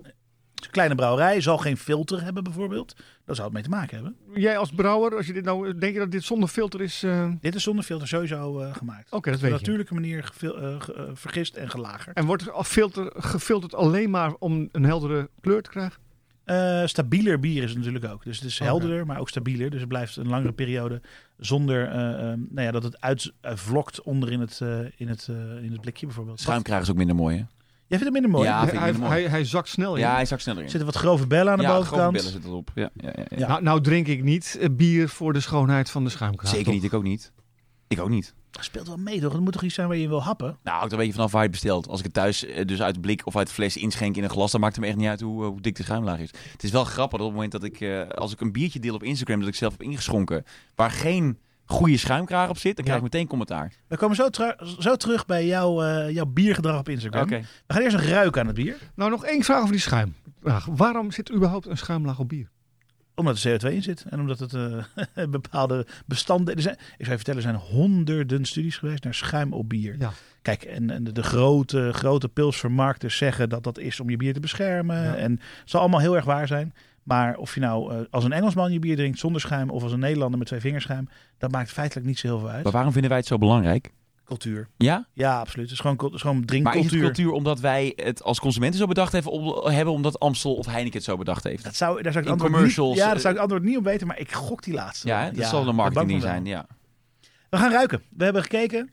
Speaker 2: is een kleine brouwerij. Zal geen filter hebben, bijvoorbeeld. Daar zou het mee te maken hebben.
Speaker 3: Jij als brouwer, als je dit nou, denk je dat dit zonder filter is? eh, Oké,
Speaker 2: Dit is zonder filter sowieso eh, gemaakt.
Speaker 3: dat
Speaker 2: Op een
Speaker 3: Oh, weet je.
Speaker 2: natuurlijke manier gefil- eh, ge- eh, vergist en gelagerd.
Speaker 3: En wordt er al filter, gefilterd alleen maar om een heldere kleur te krijgen?
Speaker 2: Eh, stabieler bier is het natuurlijk ook. Dus het is
Speaker 3: Oké.
Speaker 2: helderder, maar ook stabieler. Dus het blijft een langere periode zonder eh, eh, nou ja, dat het uitvlokt onderin het, eh, in, het, eh, in het blikje bijvoorbeeld.
Speaker 4: Schuim krijgen is ook minder mooi, hè?
Speaker 2: Jij vindt het minder mooi?
Speaker 4: Ja,
Speaker 2: Er
Speaker 4: vind ik
Speaker 3: hij,
Speaker 4: minder mooi.
Speaker 3: hij, hij zakt snel in.
Speaker 4: Ja, hij zakt sneller in.
Speaker 2: zitten wat grove bellen aan de
Speaker 4: ja, grote
Speaker 2: bovenkant.
Speaker 4: bellen zitten erop. Ja, ja, ja, ja.
Speaker 2: Ja.
Speaker 3: Nou, nou drink ik niet eh, bier voor de schoonheid van de schuimkraag.
Speaker 4: Zeker
Speaker 3: toch?
Speaker 4: niet, ik ook niet. Ik ook niet.
Speaker 2: Dat speelt wel mee toch? Het moet toch iets zijn waar je wil happen?
Speaker 4: Nou, hangt er een beetje vanaf waar je het bestelt. Als ik het thuis eh, dus uit blik of uit fles inschenk in een glas, dan maakt het me echt niet uit hoe, eh, hoe dik de schuimlaag is. Het is wel grappig dat op het moment dat ik, eh, als ik een biertje deel op Instagram dat ik zelf heb ingeschonken, waar geen goede schuimkraag op zit, dan krijg ik meteen commentaar.
Speaker 2: We komen zo, tra- zo terug bij jouw, eh, jouw biergedrag op Instagram. We gaan eerst nog ruiken aan het bier.
Speaker 3: Nou, nog één vraag over die schuimlaag. Waarom zit überhaupt een schuimlaag op bier?
Speaker 2: Omdat er CO2 in zit en omdat het eh, bepaalde bestanden... Er zijn, ik zou je vertellen, er zijn honderden studies geweest naar schuim op bier.
Speaker 3: Ja.
Speaker 2: Kijk, en, en de, de grote, grote pilsvermarkters zeggen dat dat is om je bier te beschermen.
Speaker 3: Ja.
Speaker 2: En het zal allemaal heel erg waar zijn. Maar of je nou eh, als een Engelsman je bier drinkt zonder schuim... of als een Nederlander met twee vingerschuim... dat maakt feitelijk niet zo heel veel uit.
Speaker 4: Maar waarom vinden wij het zo belangrijk?
Speaker 2: Cultuur.
Speaker 4: Ja,
Speaker 2: Ja, absoluut. Het is gewoon, cul- het is gewoon
Speaker 4: maar is het
Speaker 2: drinkcultuur.
Speaker 4: cultuur omdat wij het als consumenten zo bedacht hebben, om- hebben omdat Amstel of Heineken het zo bedacht heeft?
Speaker 2: Dat zou, daar zou ik
Speaker 4: In
Speaker 2: het antwoord niet,
Speaker 4: commercials,
Speaker 2: ja, daar
Speaker 4: eh,
Speaker 2: zou ik het antwoord niet op weten, maar ik gok die laatste.
Speaker 4: Ja, hè? dat zal de
Speaker 2: daar ben ik
Speaker 4: marketing
Speaker 2: bang
Speaker 4: niet
Speaker 2: van wel.
Speaker 4: zijn. Ja.
Speaker 2: We gaan ruiken. We hebben gekeken.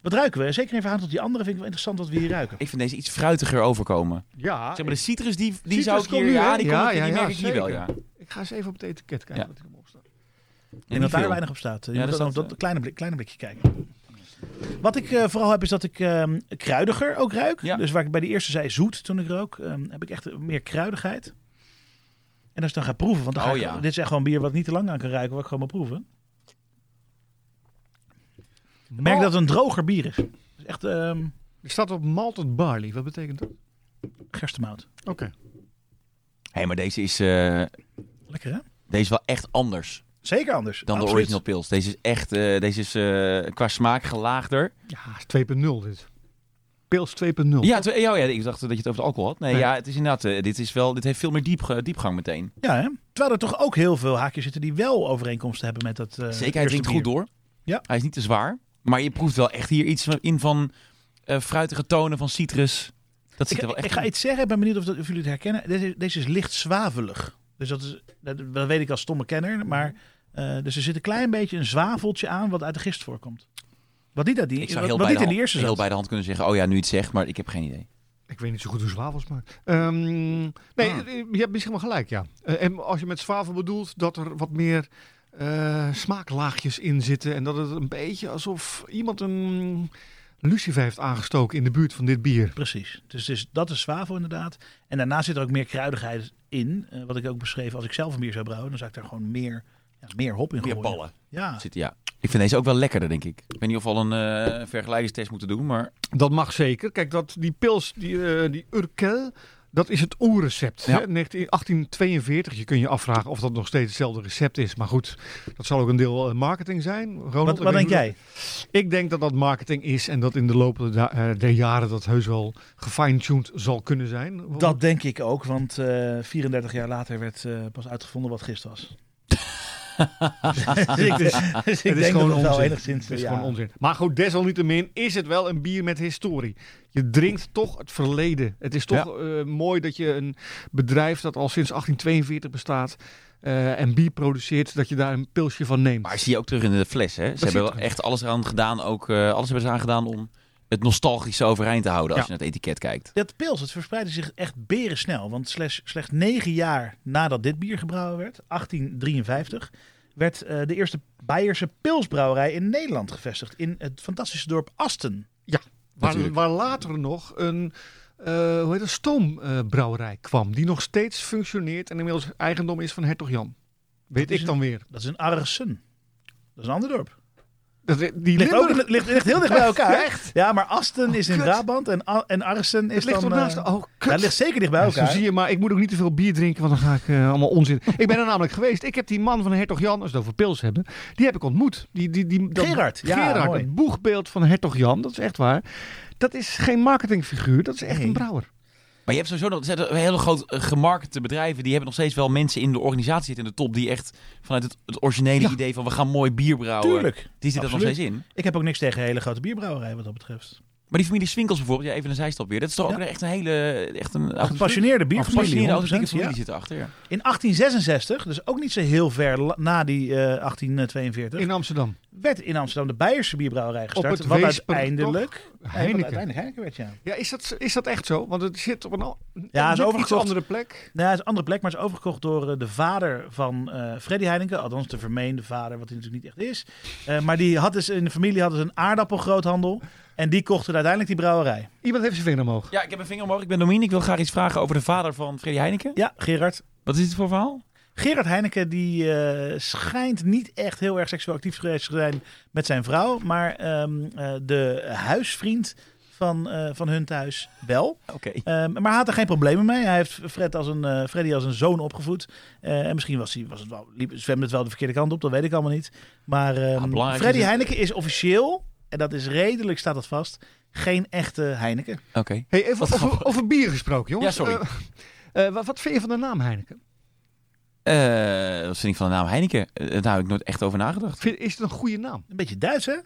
Speaker 2: Wat ruiken we? En Zeker in verhouding tot die andere vind ik wel interessant wat we hier ruiken.
Speaker 4: Ik vind deze iets fruitiger overkomen.
Speaker 3: Ja,
Speaker 4: Zeg maar, de citrus, die, die
Speaker 3: Ah, Citrus
Speaker 4: zou ik
Speaker 3: komt
Speaker 4: hier...
Speaker 3: nu, hè?
Speaker 4: ja, die,
Speaker 3: Ja,
Speaker 4: komt,
Speaker 3: ja,
Speaker 4: die
Speaker 3: ja,
Speaker 4: merk ik hier wel,
Speaker 3: zeker.
Speaker 4: ja.
Speaker 3: ik ga eens even op het etiket kijken
Speaker 4: Ja.
Speaker 3: wat hierop staat.
Speaker 2: En dat daar
Speaker 4: veel.
Speaker 2: weinig op staat. Je
Speaker 4: Ja,
Speaker 2: moet
Speaker 4: dat
Speaker 2: dan op
Speaker 4: staat, eh,
Speaker 2: dat kleine, blik, kleine blikje kijken. Wat ik eh, vooral heb is dat ik ehm, kruidiger ook ruik.
Speaker 4: Ja.
Speaker 2: Dus waar ik bij de eerste zei zoet toen ik rook, ehm, heb ik echt meer kruidigheid. En als ik dan ga proeven, want dan ga
Speaker 4: Oh
Speaker 2: ik-
Speaker 4: ja.
Speaker 2: dit is echt gewoon bier wat ik niet te lang aan kan ruiken, wat ik gewoon maar proeven. Ik merk
Speaker 4: Oh.
Speaker 3: Mal-
Speaker 2: dat het een droger bier is. Het is echt ehm
Speaker 3: Er staat op malted barley. Wat betekent dat?
Speaker 2: gerstemout.
Speaker 3: Oké.
Speaker 4: Hé, maar deze is, eh,
Speaker 2: Lekker hè?
Speaker 4: deze is wel echt anders
Speaker 2: Zeker anders.
Speaker 4: dan de
Speaker 2: Absoluut.
Speaker 4: original pils. Deze is echt, eh, deze is eh, qua smaak gelaagder.
Speaker 3: Ja, is 2.0 dit. Pils 2.0.
Speaker 2: Oh.
Speaker 4: Ja, twe- ja, ja, ik dacht dat je het over het alcohol had. Nee,
Speaker 3: Nee.
Speaker 4: ja, het is inderdaad, eh, dit, is wel, dit heeft veel meer diep, diepgang meteen.
Speaker 2: Ja hè? Terwijl er toch ook heel veel haakjes zitten die wel overeenkomsten hebben met dat eh
Speaker 4: Zeker, hij
Speaker 2: eerste
Speaker 4: drinkt
Speaker 2: bier.
Speaker 4: goed door.
Speaker 2: Ja.
Speaker 4: Hij is niet te zwaar. Maar je proeft wel echt hier iets van- in van eh, fruitige tonen, van citrus. Dat zit
Speaker 2: Ik,
Speaker 4: er wel
Speaker 2: ik
Speaker 4: echt
Speaker 2: ga
Speaker 4: in.
Speaker 2: iets zeggen, ik ben benieuwd of, dat, of jullie het herkennen. Deze, is- deze is licht zwavelig. Dus dat, is, dat, dat weet ik als stomme kenner. Maar, eh, dus er zit een klein beetje een zwaveltje aan wat uit de gist voorkomt. Wat niet, uit die,
Speaker 4: Ik zou
Speaker 2: wat,
Speaker 4: heel,
Speaker 2: wat
Speaker 4: bij de,
Speaker 2: niet in de
Speaker 4: hand-
Speaker 2: eerste
Speaker 4: heel
Speaker 2: zat.
Speaker 4: bij de hand kunnen zeggen, oh ja, nu je het zegt, maar ik heb geen idee.
Speaker 3: Ik weet niet zo goed hoe zwavel smaakt. Ehm, nee,
Speaker 4: Ah.
Speaker 3: eh, je hebt misschien wel gelijk, ja. Eh, en als je met zwavel bedoelt dat er wat meer eh, smaaklaagjes in zitten. En dat het een beetje alsof iemand een lucifer heeft aangestoken in de buurt van dit bier.
Speaker 2: Precies. Dus, het is- dat is zwavel inderdaad. En daarna zit er ook meer kruidigheid in. Eh, wat ik ook beschreef, als ik zelf een bier zou brouwen, dan zou ik daar gewoon meer, ja, meer hop in gooien. Ja,
Speaker 4: Zit, ja. Ik vind deze ook wel lekkerder, denk ik. Ik weet niet of we al een eh, vergelijkingstest moeten doen, maar...
Speaker 3: Dat mag zeker. Kijk, dat, die pils, die, eh, die Urkel, dat is het oerrecept.
Speaker 4: Ja.
Speaker 3: Hè? 19 1842, je kunt je afvragen of dat nog steeds hetzelfde recept is. Maar goed, dat zal ook een deel eh, marketing zijn. Ronald,
Speaker 2: wat,
Speaker 3: ik
Speaker 2: wat
Speaker 3: weet
Speaker 2: denk
Speaker 3: niet hoe-
Speaker 2: jij?
Speaker 3: Ik denk dat dat marketing is en dat in de loop der, da- eh, der jaren dat heus wel gefine-tuned zal kunnen zijn.
Speaker 2: Dat denk ik ook, want eh, 34 jaar later werd eh, pas uitgevonden wat gist was. dus ik, dus ik denk dat het wel enigszins... eh,
Speaker 3: Het is
Speaker 2: ja.
Speaker 3: gewoon onzin. Maar goed, desalniettemin is het wel een bier met historie. Je drinkt toch het verleden. Het is toch eh, mooi dat je een bedrijf dat al sinds 1842 bestaat eh, en bier produceert, dat je daar een pilsje van neemt.
Speaker 4: Maar zie je ook terug in de fles, hè? Ze
Speaker 3: zit
Speaker 4: hebben wel
Speaker 3: terug.
Speaker 4: echt alles eraan gedaan, ook eh, alles hebben ze aan gedaan om het nostalgische overeind te houden als
Speaker 3: Ja.
Speaker 4: je naar het etiket kijkt.
Speaker 2: Dat pils, het verspreidde zich echt berensnel. Want slechts, slechts negen jaar nadat dit bier gebrouwen werd, 1853, werd eh, de eerste Beierse pilsbrouwerij in Nederland gevestigd. In het fantastische dorp Asten.
Speaker 3: waar,
Speaker 4: natuurlijk.
Speaker 3: waar later nog een eh, hoe heet dat, stoombrouwerij kwam, die nog steeds functioneert en inmiddels eigendom is van hertog Jan. Weet
Speaker 2: Dat is
Speaker 3: ik dan weer.
Speaker 2: Dat is in Arsen. Dat is een ander dorp.
Speaker 3: Dat, die
Speaker 2: Ligt, ook,
Speaker 3: Limburg-
Speaker 2: ligt, ligt heel dicht bij elkaar.
Speaker 3: Echt? Oh,
Speaker 2: Ja, maar Asten is in
Speaker 3: kut.
Speaker 2: Brabant en, A- en Arsen is
Speaker 3: Het ligt
Speaker 2: dan...
Speaker 3: toch naast
Speaker 2: eh,
Speaker 3: de... Oh,
Speaker 2: ja,
Speaker 3: kut.
Speaker 2: het ligt zeker dicht bij
Speaker 3: Ja, zo
Speaker 2: elkaar.
Speaker 3: zie je, maar ik moet ook niet te veel bier drinken, want dan ga ik eh, allemaal onzin. ik ben er namelijk geweest. Ik heb die man van Hertog Jan, als we het over pils hebben, die heb ik ontmoet. Die, die, die, dat-
Speaker 2: Gerard, ja,
Speaker 3: Gerard,
Speaker 2: mooi.
Speaker 3: het boegbeeld van Hertog Jan, dat is echt waar. Dat is geen marketingfiguur, dat is echt
Speaker 2: Nee.
Speaker 3: een brouwer.
Speaker 4: Maar je hebt sowieso nog er zijn hele groot eh, gemarkete bedrijven, die hebben nog steeds wel mensen in de organisatie zitten in de top, die echt vanuit het, het originele
Speaker 3: Ja.
Speaker 4: idee van we gaan mooi bier brouwen,
Speaker 2: Tuurlijk.
Speaker 4: die zit er nog
Speaker 2: absoluut.
Speaker 4: steeds in.
Speaker 2: Ik heb ook niks tegen hele grote bierbrouwerijen wat dat betreft.
Speaker 4: Maar die familie Swinkels bijvoorbeeld, ja, even een zijstap weer, dat is toch ook echt een hele, echt een
Speaker 2: Gepassioneerde bierfamilie,
Speaker 4: gepassioneerde
Speaker 2: 100%,
Speaker 4: authentieke familie
Speaker 2: ja.
Speaker 4: zit erachter. Ja.
Speaker 2: In 1866, dus ook niet zo heel ver la- na die eh, 1842,
Speaker 3: In Amsterdam.
Speaker 2: werd in Amsterdam de Beierse bierbrouwerij gestart.
Speaker 3: het
Speaker 2: wat
Speaker 3: Weesper,
Speaker 2: uiteindelijk, eh, wat
Speaker 3: Heineken.
Speaker 2: uiteindelijk Heineken werd, ja.
Speaker 3: Ja, is dat, is dat echt zo? Want het zit op een, al-
Speaker 2: Ja, het is
Speaker 3: net iets
Speaker 2: overgekocht.
Speaker 3: andere plek.
Speaker 2: Nou, het is een andere plek, maar het is overgekocht door eh, de vader van eh Freddy Heineken. Althans, de vermeende vader, wat hij natuurlijk niet echt is. Eh, maar die had dus, in de familie hadden ze een aardappelgroothandel. En die kochten uiteindelijk die brouwerij.
Speaker 3: Iemand heeft zijn vinger omhoog.
Speaker 4: ja, ik heb een vinger omhoog, ik ben Domien, ik wil graag iets vragen over de vader van Freddy Heineken.
Speaker 2: Ja, Gerard.
Speaker 4: Wat is het voor verhaal?
Speaker 2: Gerard Heineken die eh, schijnt niet echt heel erg seksueel actief geweest te zijn met zijn vrouw. Maar ehm, eh, de huisvriend van, eh, van hun thuis wel.
Speaker 4: Oké.
Speaker 2: Ehm, maar hij had er geen problemen mee. Hij heeft Fred als een, eh, Freddy als een zoon opgevoed. Eh, en misschien was hij, was het wel, liep, zwemde het wel de verkeerde kant op. Dat weet ik allemaal niet. Maar ehm,
Speaker 4: belangrijk is
Speaker 2: Freddy
Speaker 4: het-
Speaker 2: Heineken is officieel, en dat is redelijk, staat dat vast, geen echte Heineken.
Speaker 4: Oké.
Speaker 3: Hey, even
Speaker 4: Wat
Speaker 3: over,
Speaker 4: grappig.
Speaker 3: over bier gesproken, jongens.
Speaker 4: Ja, sorry.
Speaker 3: Eh, eh, wat, wat vind je van de naam Heineken?
Speaker 4: Eh, wat vind ik van de naam Heineken? Eh, daar heb ik nooit echt over nagedacht.
Speaker 3: Vind- is het een goede naam?
Speaker 2: Een beetje Duits, hè?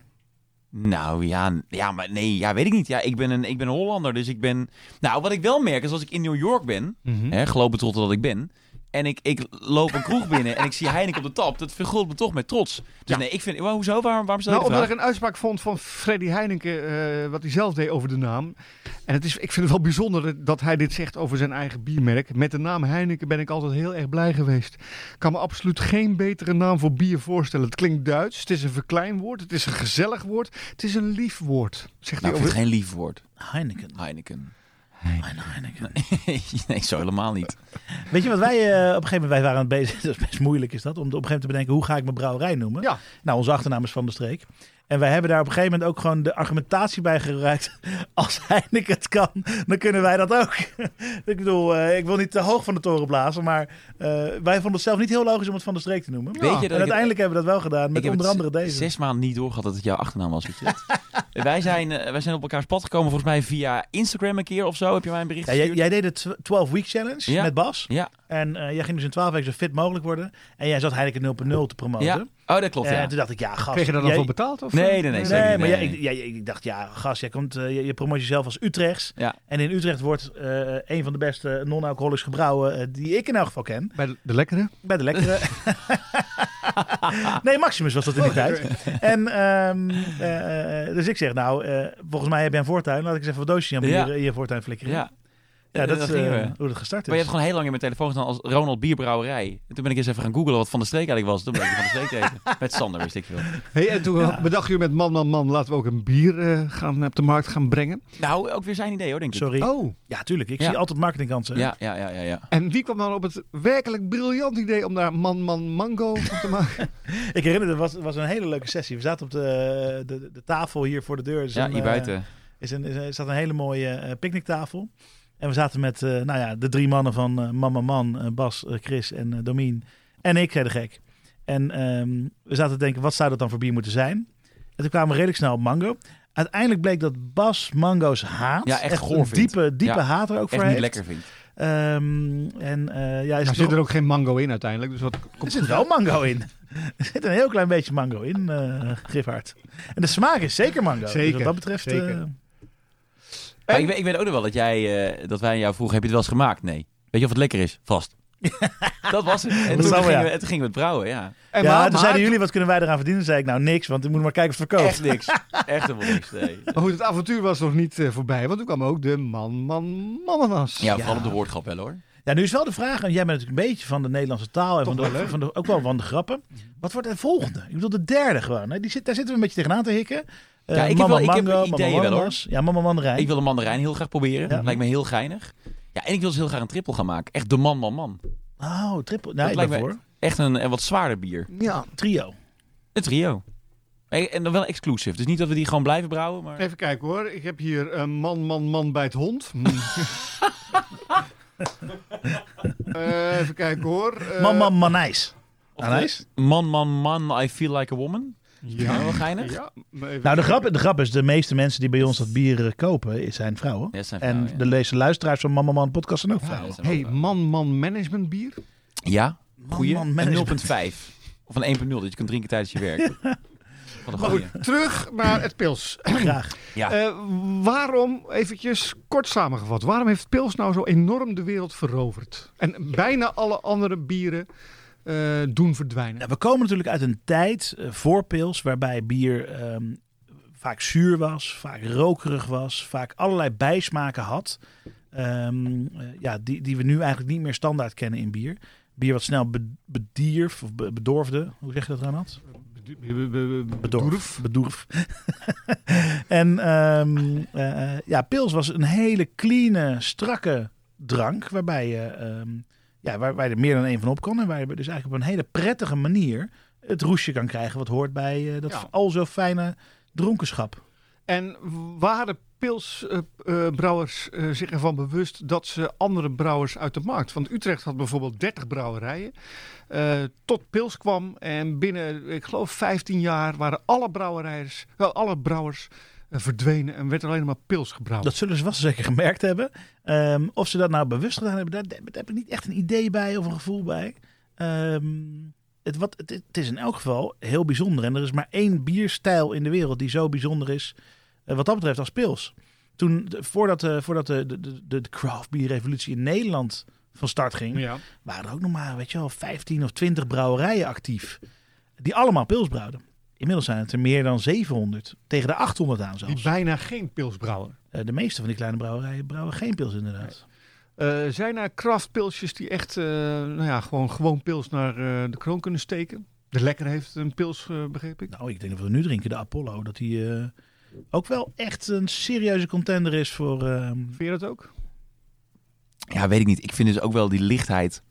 Speaker 4: Nou ja, n- ja maar nee, ja, weet ik niet. Ja, ik, ben een, ik ben een
Speaker 2: Mhm.
Speaker 3: Hm?
Speaker 4: Hollander, dus ik ben... Nou, wat ik wel merk is als ik in New York ben, hè, globetrotter dat ik ben... en ik, ik loop een kroeg binnen en ik zie Heineken op de tap. Dat vergult me toch met trots. Dus
Speaker 3: Ja.
Speaker 4: nee, ik vind... Wow, hoezo? Waarom, waarom stel je
Speaker 3: Nou,
Speaker 4: de
Speaker 3: omdat ik
Speaker 4: vraag?
Speaker 3: een uitspraak vond van Freddy Heineken, eh, wat hij zelf deed over de naam. En het is, ik vind het wel bijzonder dat- dat hij dit zegt over zijn eigen biermerk. Met de naam Heineken ben ik altijd heel erg blij geweest. Ik kan me absoluut geen betere naam voor bier voorstellen. Het klinkt Duits, het is een verkleinwoord, het is een gezellig woord, het is een lief woord.
Speaker 4: Nou, ik
Speaker 3: Zegt hij
Speaker 4: vind
Speaker 3: over...
Speaker 4: het geen lief woord.
Speaker 2: Heineken.
Speaker 4: Heineken.
Speaker 2: Mijn Heineken.
Speaker 4: nee, zo helemaal niet.
Speaker 2: Weet je wat wij eh, op een gegeven moment wij waren bezig, dat is best moeilijk is dat, om op een gegeven moment te bedenken hoe ga ik mijn brouwerij noemen.
Speaker 3: Ja.
Speaker 2: Nou, onze achternaam is Van de Streek. En wij hebben daar op een gegeven moment ook gewoon de argumentatie bij gebruikt. Als Heineken het kan, dan kunnen wij dat ook. ik bedoel, eh, ik wil niet te hoog van de toren blazen, maar eh, wij vonden het zelf niet heel logisch om het Van de Streek te noemen. Nou,
Speaker 4: Weet je
Speaker 2: en
Speaker 4: dat ik het-
Speaker 2: uiteindelijk hebben we dat wel gedaan, met
Speaker 4: ik heb
Speaker 2: onder
Speaker 4: het
Speaker 2: andere deze.
Speaker 4: zes maanden niet doorgehad dat het jouw achternaam was. weet je dat? wij, zijn, eh, wij zijn op elkaars pad gekomen volgens mij via Instagram een keer of zo. Heb je mij een bericht
Speaker 2: Ja, jij,
Speaker 4: gestuurd?
Speaker 2: jij deed de tw- 12 week challenge
Speaker 4: Ja.
Speaker 2: met Bas.
Speaker 4: Ja.
Speaker 2: En eh, jij ging dus in 12 weken zo fit mogelijk worden. En jij zat Heineken 0.0 te promoten.
Speaker 4: ja. Oh, dat klopt,
Speaker 2: En
Speaker 4: ja.
Speaker 2: toen dacht ik, ja, dus- gast.
Speaker 3: Kreeg je daar dan
Speaker 2: jij-
Speaker 3: voor betaald? Of? eh?
Speaker 4: Nee, nee, nee,
Speaker 2: Nee,
Speaker 4: zeker niet,
Speaker 2: maar
Speaker 4: nee,
Speaker 2: ja,
Speaker 4: nee.
Speaker 2: ik, ja, ik dacht, ja, gast, jij komt, eh, je, je promoot jezelf als Utrechts.
Speaker 4: Ja.
Speaker 2: En in Utrecht wordt eh, een van de beste non-alcoholisch gebrouwen eh, die ik in elk geval ken.
Speaker 3: Bij de, de lekkere?
Speaker 2: Bij de lekkere. nee, Maximus was dat in
Speaker 4: Oh,
Speaker 2: die tijd. En, ehm, eh, eh, dus ik zeg, nou, eh, volgens mij heb jij een voortuin. Laat ik eens even wat doosjes aan
Speaker 4: Ja.
Speaker 2: bier in je voortuin flikkeren.
Speaker 4: ja.
Speaker 2: Ja, dat, is
Speaker 4: gingen
Speaker 2: eh,
Speaker 4: we.
Speaker 2: hoe dat gestart is.
Speaker 4: Maar je hebt gewoon heel lang in mijn telefoon gestaan als Ronald Bierbrouwerij. En toen ben ik eens even gaan googlen wat Van de Streek eigenlijk was. Toen ben ik Van de Streek tegen. Met Sander wist ik veel.
Speaker 3: Hey, en toen bedacht u met man, man, man, laten we ook een bier eh, gaan, op de markt gaan brengen.
Speaker 4: Nou, ook weer zijn idee hoor, denk ik.
Speaker 2: Sorry.
Speaker 3: Oh,
Speaker 2: Ja, tuurlijk. Ik
Speaker 4: Ja.
Speaker 2: zie altijd marketingkansen.
Speaker 4: Ja, ja, ja, ja. ja.
Speaker 3: en wie kwam dan op het werkelijk briljant idee om daar man, man, mango van te maken?
Speaker 2: Ik herinner me, het was, het was een hele leuke sessie. We zaten op de, de, de tafel hier voor de deur. Is
Speaker 4: Ja,
Speaker 2: een,
Speaker 4: hier
Speaker 2: eh,
Speaker 4: buiten.
Speaker 2: is een, is, er zat een hele mooie eh, picknicktafel. En we zaten met eh, nou ja, de drie mannen van eh, Mama Man, eh, Bas, eh, Chris en eh, Domien. En ik, zei de gek. En ehm, we zaten te denken, wat zou dat dan voor bier moeten zijn? En toen kwamen we redelijk snel op mango. Uiteindelijk bleek dat Bas mango's haat.
Speaker 4: Ja, echt goor
Speaker 2: een
Speaker 4: vindt.
Speaker 2: diepe, diepe
Speaker 4: Ja,
Speaker 2: haat er ook voor
Speaker 4: Echt niet
Speaker 2: heeft.
Speaker 4: lekker vind.
Speaker 2: Ehm, en eh, ja, is
Speaker 3: Er
Speaker 2: het
Speaker 3: Nou, zit
Speaker 2: toch-
Speaker 3: er ook geen mango in uiteindelijk. Dus wat
Speaker 2: er
Speaker 3: komt
Speaker 2: zit wel mango in. er zit een heel klein beetje mango in, eh Giffard. En de smaak is zeker mango. dus
Speaker 3: Zeker,
Speaker 2: wat dat betreft...
Speaker 3: zeker.
Speaker 2: eh,
Speaker 4: Maar ik, weet, ik weet ook nog wel dat, jij, eh, dat wij aan jou vroegen, heb je het wel eens gemaakt? Nee. Weet je of het lekker is? Vast. dat was het. En toen
Speaker 2: zou wel,
Speaker 4: gingen,
Speaker 2: ja.
Speaker 4: we, toen gingen we het brouwen, ja.
Speaker 3: En
Speaker 2: ja,
Speaker 3: maar-
Speaker 2: toen
Speaker 3: maar-
Speaker 2: zeiden jullie, wat kunnen wij eraan verdienen? zei ik, nou niks, want ik moet maar kijken of het verkoopt.
Speaker 4: Echt niks. Echt helemaal niks, nee.
Speaker 3: Maar goed, het avontuur was nog niet eh, voorbij, want toen kwam ook de man, man, mannenas.
Speaker 4: Ja, vooral op de woordgrap wel hoor.
Speaker 2: Ja, nu is wel de vraag, en jij bent natuurlijk een beetje van de Nederlandse taal en
Speaker 3: Toch
Speaker 2: van
Speaker 3: wel
Speaker 2: de,
Speaker 3: leuk.
Speaker 2: van de, ook wel van de grappen. Wat wordt de volgende? Ik bedoel, de derde gewoon. Hè? Die zit, daar zitten we een beetje tegenaan te hikken. Eh,
Speaker 4: Ja, ik heb
Speaker 2: Mama
Speaker 4: wel- ik heb
Speaker 2: Mango, Mama
Speaker 4: ideeën wel, hoor.
Speaker 2: Wananas. Ja, Mama Mandarijn.
Speaker 4: Ik wil de mandarijn heel graag proberen.
Speaker 2: Ja.
Speaker 4: Lijkt me heel geinig. Ja, en ik wil dus heel graag een trippel gaan maken. Echt de man, man, man.
Speaker 2: Oh, triple. Nee, ik
Speaker 4: lijkt
Speaker 2: ben
Speaker 4: me-
Speaker 2: voor.
Speaker 4: Echt een, een wat zwaarder bier.
Speaker 3: Ja,
Speaker 2: Trio.
Speaker 4: Een trio. En en dan wel exclusief. Dus niet dat we die gewoon blijven brouwen, maar...
Speaker 3: even kijken hoor. Ik heb hier eh, man, man, man bij het hond. Hm. Eh, even kijken hoor. Eh,
Speaker 2: Mama Manijs.
Speaker 4: Of
Speaker 2: Anijs?
Speaker 4: de- Man, man, man, I feel like a woman. Ja,
Speaker 3: Ja.
Speaker 4: wel geinig. Ja,
Speaker 3: ja maar even
Speaker 2: Nou, de
Speaker 3: kijken.
Speaker 2: grap, de grap is, de meeste mensen die bij ons dat bier eh, kopen, is- zijn vrouwen.
Speaker 4: dat zijn
Speaker 2: En
Speaker 4: vrouwen, ja.
Speaker 2: de lezen luisteraars van Mama Man podcast zijn ook
Speaker 4: Ja,
Speaker 2: vrouwen.
Speaker 4: dat zijn wel
Speaker 3: Hey,
Speaker 4: vrouwen.
Speaker 3: man, man, management bier.
Speaker 4: Ja, goeie.
Speaker 2: man,
Speaker 4: Een
Speaker 2: management.
Speaker 4: 0.5. Of een 1.0, dat je kunt drinken tijdens je werk. Wat een
Speaker 2: Oh,
Speaker 3: Maar
Speaker 4: goeie.
Speaker 3: goed, terug naar het pils.
Speaker 2: Graag.
Speaker 4: Ja.
Speaker 3: Eh, waarom, eventjes kort samengevat, waarom heeft pils nou zo enorm de wereld veroverd? En bijna alle andere bieren eh, doen verdwijnen.
Speaker 2: Nou, we komen natuurlijk uit een tijd eh, voor pils waarbij bier ehm, vaak zuur was, vaak rokerig was, vaak allerlei bijsmaken had. Ehm, eh, ja, die, die we nu eigenlijk niet meer standaard kennen in bier. Bier wat snel be- bedierf of be- bedorfde. Hoe zeg je dat, Ronald? Bedorf. Bedorf. en ehm, eh, ja, pils was een hele clean, eh, strakke drank. Waarbij je, ehm, ja, waar, waar je er meer dan één van op kon. En waar je dus eigenlijk op een hele prettige manier het roesje kan krijgen. Wat hoort bij eh, dat
Speaker 3: Ja.
Speaker 2: al zo fijne dronkenschap.
Speaker 3: En waren eh, pilsbrouwers eh, zich ervan bewust dat ze andere brouwers uit de markt... Want Utrecht had bijvoorbeeld 30 brouwerijen. eh, tot pils kwam en binnen, ik geloof, 15 jaar waren alle, brouwerijers, wel, alle brouwers eh, verdwenen... en werd er alleen maar pils gebrouwen.
Speaker 2: Dat zullen ze vast zeker gemerkt hebben. Ehm, of ze dat nou bewust gedaan hebben, daar, daar heb ik niet echt een idee bij of een gevoel bij. Ehm, het, wat, het, het is in elk geval heel bijzonder. En er is maar één bierstijl in de wereld die zo bijzonder is, eh, wat dat betreft, als pils. Toen, de- voordat, eh, voordat de, de, de, de craft beer revolutie in Nederland van start ging,
Speaker 3: Ja.
Speaker 2: waren er ook nog maar, weet je wel, 15 of 20 brouwerijen actief. Die allemaal pils brouwden. Inmiddels zijn het er meer dan 700. Tegen de 800 aan
Speaker 3: Die
Speaker 2: zelfs.
Speaker 3: bijna geen pils brouwen.
Speaker 2: Eh, de meeste van die kleine brouwerijen brouwen geen pils inderdaad.
Speaker 3: Eh, zijn er kraftpilsjes die echt eh, nou ja, gewoon, gewoon pils naar eh, de kroon kunnen steken? De lekker heeft een pils, eh, begreep ik.
Speaker 2: Nou, ik denk dat we nu drinken de Apollo. Dat die eh, ook wel echt een serieuze contender is voor... ehm,
Speaker 3: Vind je dat ook?
Speaker 4: Ja, weet ik niet. Ik vind dus ook wel die lichtheid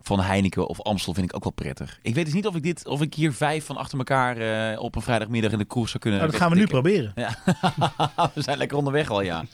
Speaker 4: van Heineken of Amstel vind ik ook wel prettig. Ik weet dus niet of ik, dit, of ik hier vijf van achter elkaar eh, op een vrijdagmiddag in de koers zou kunnen...
Speaker 2: nou, dat gaan we nu
Speaker 4: wegtikken.
Speaker 2: proberen.
Speaker 4: Ja, we zijn lekker onderweg al, ja.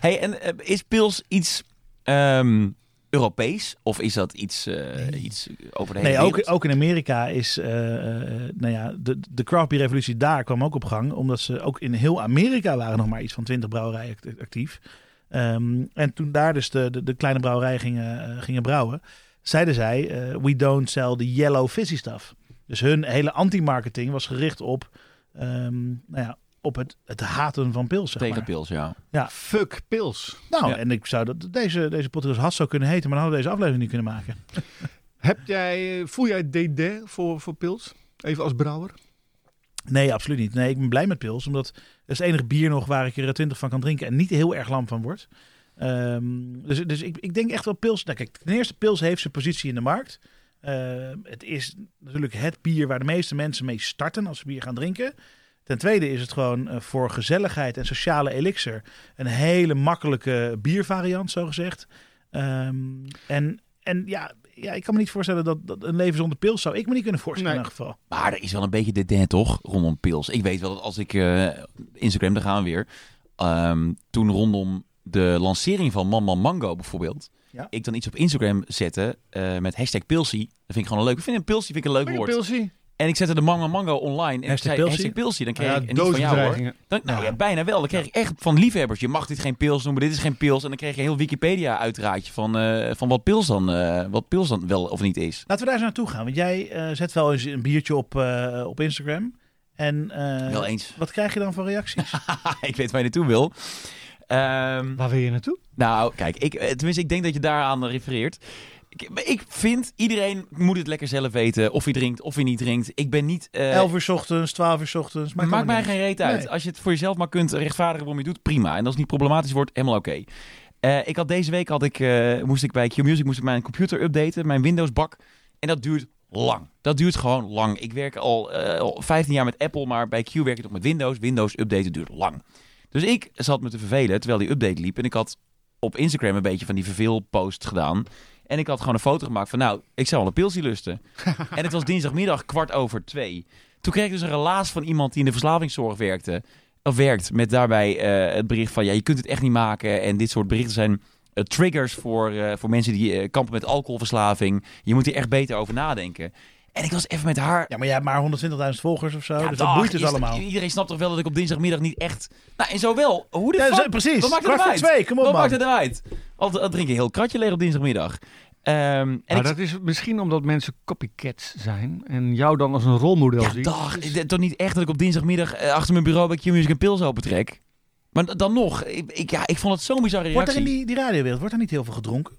Speaker 4: Hey, en eh, is pils iets ehm, Europees? Of is dat iets, eh, iets over de hele
Speaker 2: Nee,
Speaker 4: wereld?
Speaker 2: ook, ook in Amerika is, eh, eh, nou ja, de, de craft beer revolutie daar kwam ook op gang. Omdat ze ook in heel Amerika waren nog maar iets van 20 brouwerijen act- actief. Ehm, en toen daar dus de, de, de kleine brouwerijen gingen, eh, gingen brouwen, zeiden zij, eh, we don't sell the yellow fizzy stuff. Dus hun hele anti-marketing was gericht op, ehm, nou ja, op het, het haten van pils. Zeg
Speaker 4: Tegen
Speaker 2: maar.
Speaker 4: pils, ja.
Speaker 3: Fuck pils.
Speaker 2: Nou,
Speaker 4: Ja.
Speaker 2: en ik zou dat, deze, deze podcast had zo kunnen heten, maar dan hadden we deze aflevering niet kunnen maken.
Speaker 3: Heb jij, eh, voel jij DD voor, voor pils? Even als brouwer.
Speaker 2: Nee, absoluut niet. Nee, ik ben blij met pils. Omdat het is het enige bier nog waar ik er twintig van kan drinken. En niet heel erg lam van word. Ehm, dus dus ik, ik denk echt wel pils. Nou, kijk, ten eerste, pils heeft zijn positie in de markt. Ehm, het is natuurlijk het bier waar de meeste mensen mee starten als ze bier gaan drinken. Ten tweede is het gewoon eh, voor gezelligheid en sociale elixir een hele makkelijke biervariant, zogezegd. Ehm en, en ja, ja, ik kan me niet voorstellen dat, dat een leven zonder pils zou ik me niet kunnen voorstellen
Speaker 3: Nee.
Speaker 2: in elk geval.
Speaker 4: Maar er is wel een beetje de dent, toch? Rondom pils. Ik weet wel dat als ik eh, Instagram, daar gaan we weer. ehm, toen rondom de lancering van Man Man Mango bijvoorbeeld.
Speaker 2: Ja.
Speaker 4: Ik dan iets op Instagram zette eh, met hashtag pilsie. Dat vind ik gewoon een leuk. Ik vind een pilsie vind ik een leuk
Speaker 3: Lekker
Speaker 4: woord.
Speaker 3: pilsie.
Speaker 4: En ik zette de Man Man Mango online. En ik
Speaker 2: Hashtag
Speaker 4: zei
Speaker 2: pilsie?
Speaker 4: hashtag pilsie. Dan kreeg
Speaker 3: Ja,
Speaker 4: ik en niet van jou hoor.
Speaker 3: doodsbedreigingen.
Speaker 4: Dan, nou
Speaker 2: Ja.
Speaker 4: ja, bijna wel. Dan kreeg ik echt van liefhebbers. Je mag dit geen pils noemen, dit is geen pils. En dan kreeg je heel Wikipedia uiteraardje van, eh, van wat, pils dan, eh, wat pils dan wel of niet is.
Speaker 2: Laten we daar eens naartoe gaan. Want jij eh, zet wel eens een biertje op, eh, op Instagram. En eh,
Speaker 4: Wel eens.
Speaker 2: wat krijg je dan voor reacties?
Speaker 4: ik weet waar je naartoe wil. Ehm,
Speaker 3: Waar wil je naartoe?
Speaker 4: nou, kijk, ik, eh, tenminste, ik denk dat je daaraan refereert. Ik, maar ik vind, iedereen moet het lekker zelf weten. Of hij drinkt, of hij niet drinkt. Ik ben niet... eh,
Speaker 2: 11 uur 's ochtends, 12 uur 's ochtends. Maakt,
Speaker 4: Maakt mij
Speaker 2: allemaal niet
Speaker 4: geen reet uit.
Speaker 2: Nee.
Speaker 4: Als je het voor jezelf maar kunt rechtvaardigen waarom je het doet, prima. En als het niet problematisch wordt, helemaal oké. Eh, ik had deze week had ik, eh, moest ik bij Q-Music moest ik mijn computer updaten, mijn Windows bak. En dat duurt lang. Dat duurt gewoon lang. Ik werk al, eh, al 15 jaar met Apple, maar bij Q werk ik nog met Windows. Windows updaten duurt lang. Dus ik zat me te vervelen terwijl die update liep. En ik had op Instagram een beetje van die verveelpost gedaan. En ik had gewoon een foto gemaakt van, nou, ik zou wel een pilsie lusten. en het was dinsdagmiddag kwart over twee. Toen kreeg ik dus een relaas van iemand die in de verslavingszorg werkte. Of werkt, met daarbij eh, het bericht van, ja, je kunt het echt niet maken. En dit soort berichten zijn eh, triggers voor, eh, voor mensen die eh, kampen met alcoholverslaving. Je moet hier echt beter over nadenken. En ik was even met haar...
Speaker 2: Ja, maar jij hebt maar 120.000 volgers of zo.
Speaker 4: Ja,
Speaker 2: dus
Speaker 4: dag,
Speaker 2: dat boeit het
Speaker 4: is-
Speaker 2: allemaal.
Speaker 4: Iedereen snapt toch wel dat ik op dinsdagmiddag niet echt... Nou, en zo wel. Hoe de
Speaker 2: Ja,
Speaker 4: fuck...
Speaker 2: zo- precies.
Speaker 4: Wat maakt het
Speaker 2: Kwart voor
Speaker 4: uit?
Speaker 2: twee, kom op
Speaker 4: Wat
Speaker 2: man.
Speaker 4: maakt het nou uit? Al, al drink je heel kratje leeg op dinsdagmiddag. Ehm, en
Speaker 3: Maar
Speaker 4: ik,
Speaker 3: dat is misschien omdat mensen copycats zijn en jou dan als een rolmodel
Speaker 4: ja,
Speaker 3: zien.
Speaker 4: dag. d- Toch niet echt dat ik op dinsdagmiddag eh, achter mijn bureau bij Q-Music een pils opentrek. Maar d- dan nog, ik, ik- ja, ik vond het zo'n bizarre
Speaker 2: Wordt er
Speaker 4: reactie.
Speaker 2: in die, die radiowereld wordt er niet heel veel gedronken?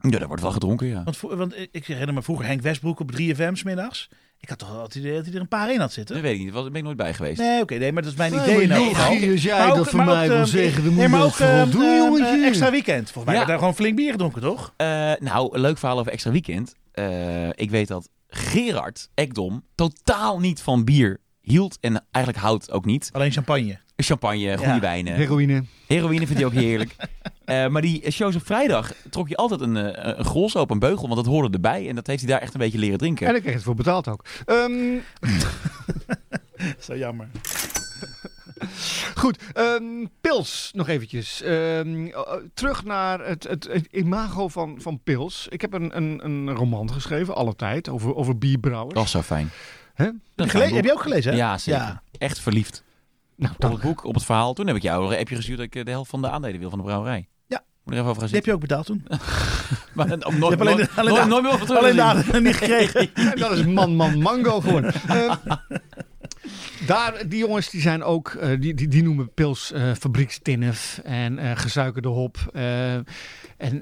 Speaker 4: Ja, daar wordt wel gedronken, ja.
Speaker 2: Want, voor- want ik herinner me vroeger Henk Westbroek op 3FM 's middags. Ik had toch altijd het idee dat hij er een paar in had
Speaker 4: Dat
Speaker 2: zitten?
Speaker 4: weet ik niet, daar ben ik nooit bij geweest.
Speaker 2: Nee, oké, nee, maar dat is mijn
Speaker 3: Nee,
Speaker 2: idee in
Speaker 3: maar
Speaker 2: elk
Speaker 3: joh,
Speaker 2: geval.
Speaker 3: Gier, als jij dat van mij
Speaker 2: eh,
Speaker 3: wil zeggen, dan moet je
Speaker 2: maar
Speaker 3: dat
Speaker 2: ook,
Speaker 3: vooral
Speaker 2: eh,
Speaker 3: doen,
Speaker 2: eh,
Speaker 3: jongetje.
Speaker 2: Extra weekend. Volgens mij
Speaker 4: Ja.
Speaker 2: werd daar gewoon flink bier gedronken, toch?
Speaker 4: Eh, nou, een leuk verhaal over extra weekend. Eh, ik weet dat Gerard Ekdom totaal niet van bier hield en eigenlijk houdt ook niet.
Speaker 2: Alleen champagne.
Speaker 4: Champagne, goede
Speaker 2: Ja.
Speaker 4: wijnen.
Speaker 3: Heroïne.
Speaker 4: Heroïne vind hij ook heerlijk. Eh, maar die shows op vrijdag trok je altijd een, eh, een grols op, een beugel, want dat hoorde erbij. En dat heeft hij daar echt een beetje leren drinken.
Speaker 3: En ik kreeg het voor betaald ook. Ehm,
Speaker 2: Zo jammer.
Speaker 3: goed, ehm, pils nog eventjes. Ehm, eh, terug naar het, het, het imago van, van pils. Ik heb een, een, een roman geschreven, alle tijd, over, over bierbrouwers.
Speaker 4: Dat is zo fijn.
Speaker 3: Hè?
Speaker 4: Dat
Speaker 2: Gele-
Speaker 4: fijn
Speaker 2: heb
Speaker 4: boek.
Speaker 2: je ook gelezen, hè?
Speaker 4: Ja, zeker. Echt verliefd
Speaker 3: nou,
Speaker 4: op
Speaker 3: dank.
Speaker 4: het boek, op het verhaal. Toen heb ik jou een appje gestuurd dat ik eh, de helft van de aandelen wil van de brouwerij.
Speaker 2: Ja.
Speaker 4: Moet er even over gaan
Speaker 2: Die heb
Speaker 4: zitten.
Speaker 2: je ook betaald toen?
Speaker 4: Maar om nooit,
Speaker 2: hebt alleen de-
Speaker 4: nooit,
Speaker 2: alleen
Speaker 4: nooit-
Speaker 2: de-
Speaker 4: nooit meer over terug te
Speaker 2: Alleen
Speaker 4: zien.
Speaker 2: daar niet gekregen.
Speaker 3: En dat is man, man, mango geworden. Ehm, Daar, die jongens die zijn ook, eh, die, die, die noemen pils eh fabriekstinnef en eh, gesuikerde hop. eh, en,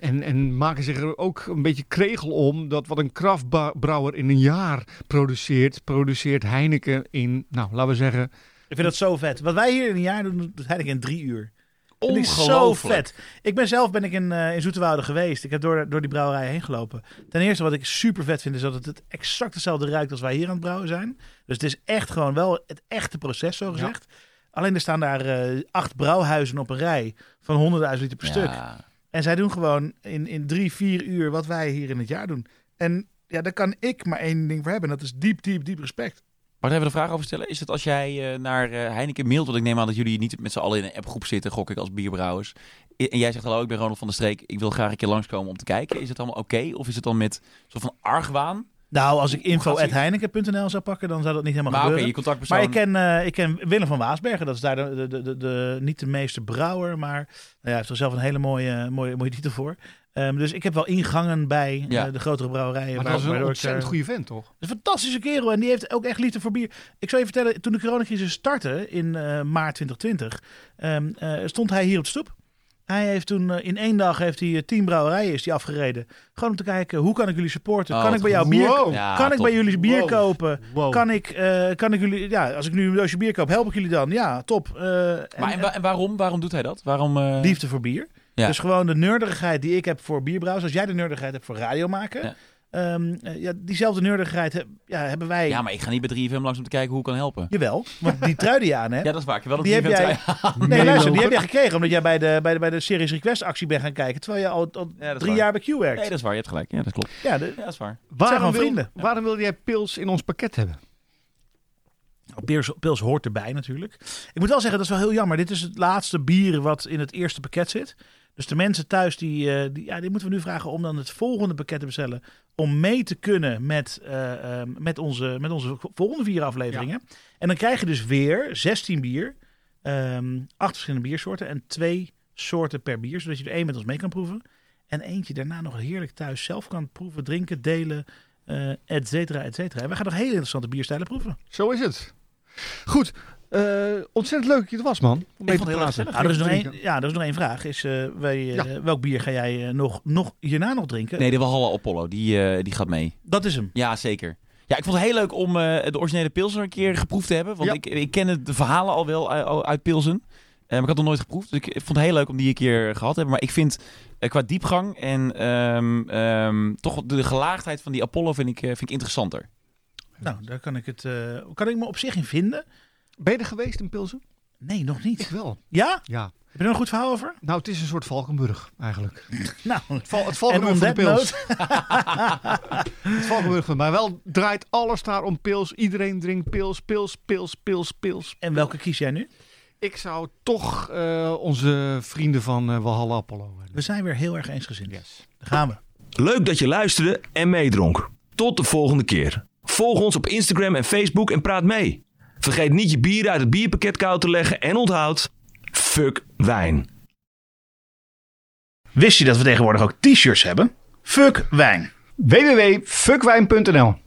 Speaker 3: en, en maken zich er ook een beetje kregel om dat wat een kraftbrouwer in een jaar produceert, produceert Heineken in, nou laten we zeggen,
Speaker 2: Ik vind dat zo vet. Wat wij hier in een jaar doen, dat had ik in drie uur. Dat is zo
Speaker 4: Ongelooflijk.
Speaker 2: vet. Ik ben zelf ben ik in, eh in Zoeterwoude geweest. Ik heb door, door die brouwerij heen gelopen. Ten eerste wat ik super vet vind is dat het, het exact hetzelfde ruikt als wij hier aan het brouwen zijn. Dus het is echt gewoon wel het echte proces zo gezegd. Alleen er staan daar eh, acht brouwhuizen op een rij van 100.000 liter per stuk.
Speaker 4: Ja.
Speaker 2: En zij doen gewoon in, in drie, vier uur wat wij hier in het jaar doen. En ja, daar kan ik maar één ding voor hebben. En dat is diep, diep, diep respect.
Speaker 4: Wat hebben we de vraag over stellen? Is het als jij eh, naar eh, Heineken mailt, want ik neem aan dat jullie niet met z'n allen in een appgroep zitten, gok ik als bierbrouwers. I- En jij zegt hallo, ik ben Ronald van der Streek, ik wil graag een keer langskomen om te kijken. Is het allemaal oké? Of is het dan met soort van argwaan?
Speaker 2: Nou, als ik
Speaker 4: gaat ze-
Speaker 2: info.heineken.nl zou pakken, dan zou dat niet helemaal
Speaker 4: Maar oké,
Speaker 2: gebeuren.
Speaker 4: je contactpersoon.
Speaker 2: Maar ik ken, eh, ik ken Willem van Waasbergen. Dat is daar de, de, de, de, de- niet de meeste brouwer, maar nou ja, hij heeft er zelf een hele mooie, mooie, mooie titel voor. Ehm, dus ik heb wel ingangen bij
Speaker 4: Ja.
Speaker 2: eh, de grotere brouwerijen.
Speaker 3: maar
Speaker 2: waar-
Speaker 3: dat is een
Speaker 2: waardoor ik,
Speaker 3: ontzettend
Speaker 2: eh,
Speaker 3: goede vent toch?
Speaker 2: een fantastische kerel en die heeft ook echt liefde voor bier. Ik zal je vertellen, toen de coronacrisis startte in eh, maart 2020, ehm, eh, stond hij hier op de stoep. Hij heeft toen eh, in één dag heeft hij eh, tien brouwerijen is die afgereden. Gewoon om te kijken, hoe kan ik jullie supporten?
Speaker 4: Oh,
Speaker 2: kan ik
Speaker 4: wat
Speaker 2: bij jou
Speaker 3: goed.
Speaker 2: bier,
Speaker 3: Wow.
Speaker 4: Ja,
Speaker 2: kan ik
Speaker 4: top.
Speaker 2: bij jullie bier
Speaker 3: Wow.
Speaker 2: kopen?
Speaker 3: Wow.
Speaker 2: Kan ik, eh, kan ik jullie, ja, als ik nu een doosje bier koop, help ik jullie dan? Ja, top. Eh,
Speaker 4: Maar en, wa- en waarom, waarom doet hij dat? Waarom? eh,
Speaker 2: liefde voor bier.
Speaker 4: Ja.
Speaker 2: Dus gewoon de nerdigheid die ik heb voor bierbrouwers, als jij de nerdigheid hebt voor radio maken,
Speaker 4: Ja.
Speaker 2: ehm, eh, ja, diezelfde nerdigheid heb- ja, hebben wij.
Speaker 4: Ja, maar ik ga niet bij 3FM langs om te kijken hoe ik kan helpen.
Speaker 2: Jawel, want die trui die je aan hebt,
Speaker 4: Ja, dat is waar. Ik heb wel
Speaker 2: Die
Speaker 4: een
Speaker 2: heb
Speaker 4: 3FM
Speaker 2: jij-
Speaker 4: trui.
Speaker 2: Nee, luister, die
Speaker 3: Meeloper.
Speaker 2: heb jij gekregen omdat jij bij de, bij de, bij de Series Request actie bent gaan kijken. Terwijl je al, al
Speaker 4: Ja, dat is
Speaker 2: drie
Speaker 4: waar.
Speaker 2: jaar bij Q werkt.
Speaker 4: Nee, dat is waar. Je hebt gelijk. Ja, dat klopt.
Speaker 2: Ja, de,
Speaker 4: Ja, dat is waar.
Speaker 2: gewoon
Speaker 3: Waarom wil,
Speaker 2: vrienden.
Speaker 3: waarom wil jij pils in ons pakket hebben?
Speaker 2: Pils, Pils hoort erbij natuurlijk. Ik moet wel zeggen, dat is wel heel jammer. Dit is het laatste bier wat in het eerste pakket zit. Dus de mensen thuis, die, eh, die, ja, die moeten we nu vragen om dan het volgende pakket te bestellen. Om mee te kunnen met, eh, eh, met, onze, met onze volgende vier afleveringen. En dan krijg je dus weer 16 bier. ehm, acht verschillende biersoorten en twee soorten per bier. Zodat je er één met ons mee kan proeven. En eentje daarna nog heerlijk thuis zelf kan proeven, drinken, delen, eh et cetera, et cetera. En we gaan nog hele interessante bierstijlen proeven.
Speaker 3: Zo is het. Goed, eh, ontzettend leuk dat je er was man. Om mee
Speaker 4: vond het
Speaker 3: te
Speaker 4: heel
Speaker 3: praten.
Speaker 4: erg
Speaker 2: Nou, er is nog
Speaker 3: Drinken.
Speaker 2: één, ja, er is nog één vraag. Is, eh, wij, eh,
Speaker 3: Ja.
Speaker 2: Welk bier ga jij eh, nog, nog hierna nog drinken?
Speaker 4: Nee, de Walhalla Apollo, die, eh, die gaat mee.
Speaker 2: Dat is hem.
Speaker 4: Ja, zeker. Ja, ik vond het heel leuk om eh, de originele Pilsen een keer geproefd te hebben. Want
Speaker 3: Ja.
Speaker 4: ik, ik ken het- de verhalen al wel uit, uit Pilsen. Eh, maar ik had het nog nooit geproefd. Dus ik vond het heel leuk om die een keer gehad te hebben. Maar ik vind eh, qua diepgang en ehm, ehm, toch de gelaagdheid van die Apollo vind ik, eh, vind ik interessanter.
Speaker 2: Nou, daar kan ik, het, eh, kan ik me op zich in vinden.
Speaker 3: Ben je er geweest in Pilsen?
Speaker 2: Nee, nog
Speaker 3: Ik
Speaker 2: niet.
Speaker 3: wel.
Speaker 2: Ja?
Speaker 3: Ja.
Speaker 2: Heb je er een goed verhaal over?
Speaker 3: Nou, het is een soort Valkenburg eigenlijk.
Speaker 2: Nou,
Speaker 3: Val, het
Speaker 2: en
Speaker 3: Valkenburg
Speaker 2: on
Speaker 3: van de
Speaker 2: that
Speaker 3: pils.
Speaker 2: note-
Speaker 3: Het Valkenburg van Maar wel draait alles daar om pils. Iedereen drinkt pils, pils, pils, pils, pils.
Speaker 2: En welke kies jij nu?
Speaker 3: Ik zou toch eh, onze vrienden van eh Walhalla Apollo
Speaker 2: We
Speaker 3: hebben.
Speaker 2: zijn weer heel erg eensgezind.
Speaker 3: Yes.
Speaker 2: Daar gaan we.
Speaker 1: Leuk dat je luisterde en meedronk. Tot de volgende keer. Volg ons op Instagram en Facebook en praat mee. Vergeet niet je bier uit het bierpakket koud te leggen en onthoud... Fuck wijn.
Speaker 2: Wist je dat we tegenwoordig ook t-shirts hebben? Fuck wijn.
Speaker 3: www.fuckwijn.nl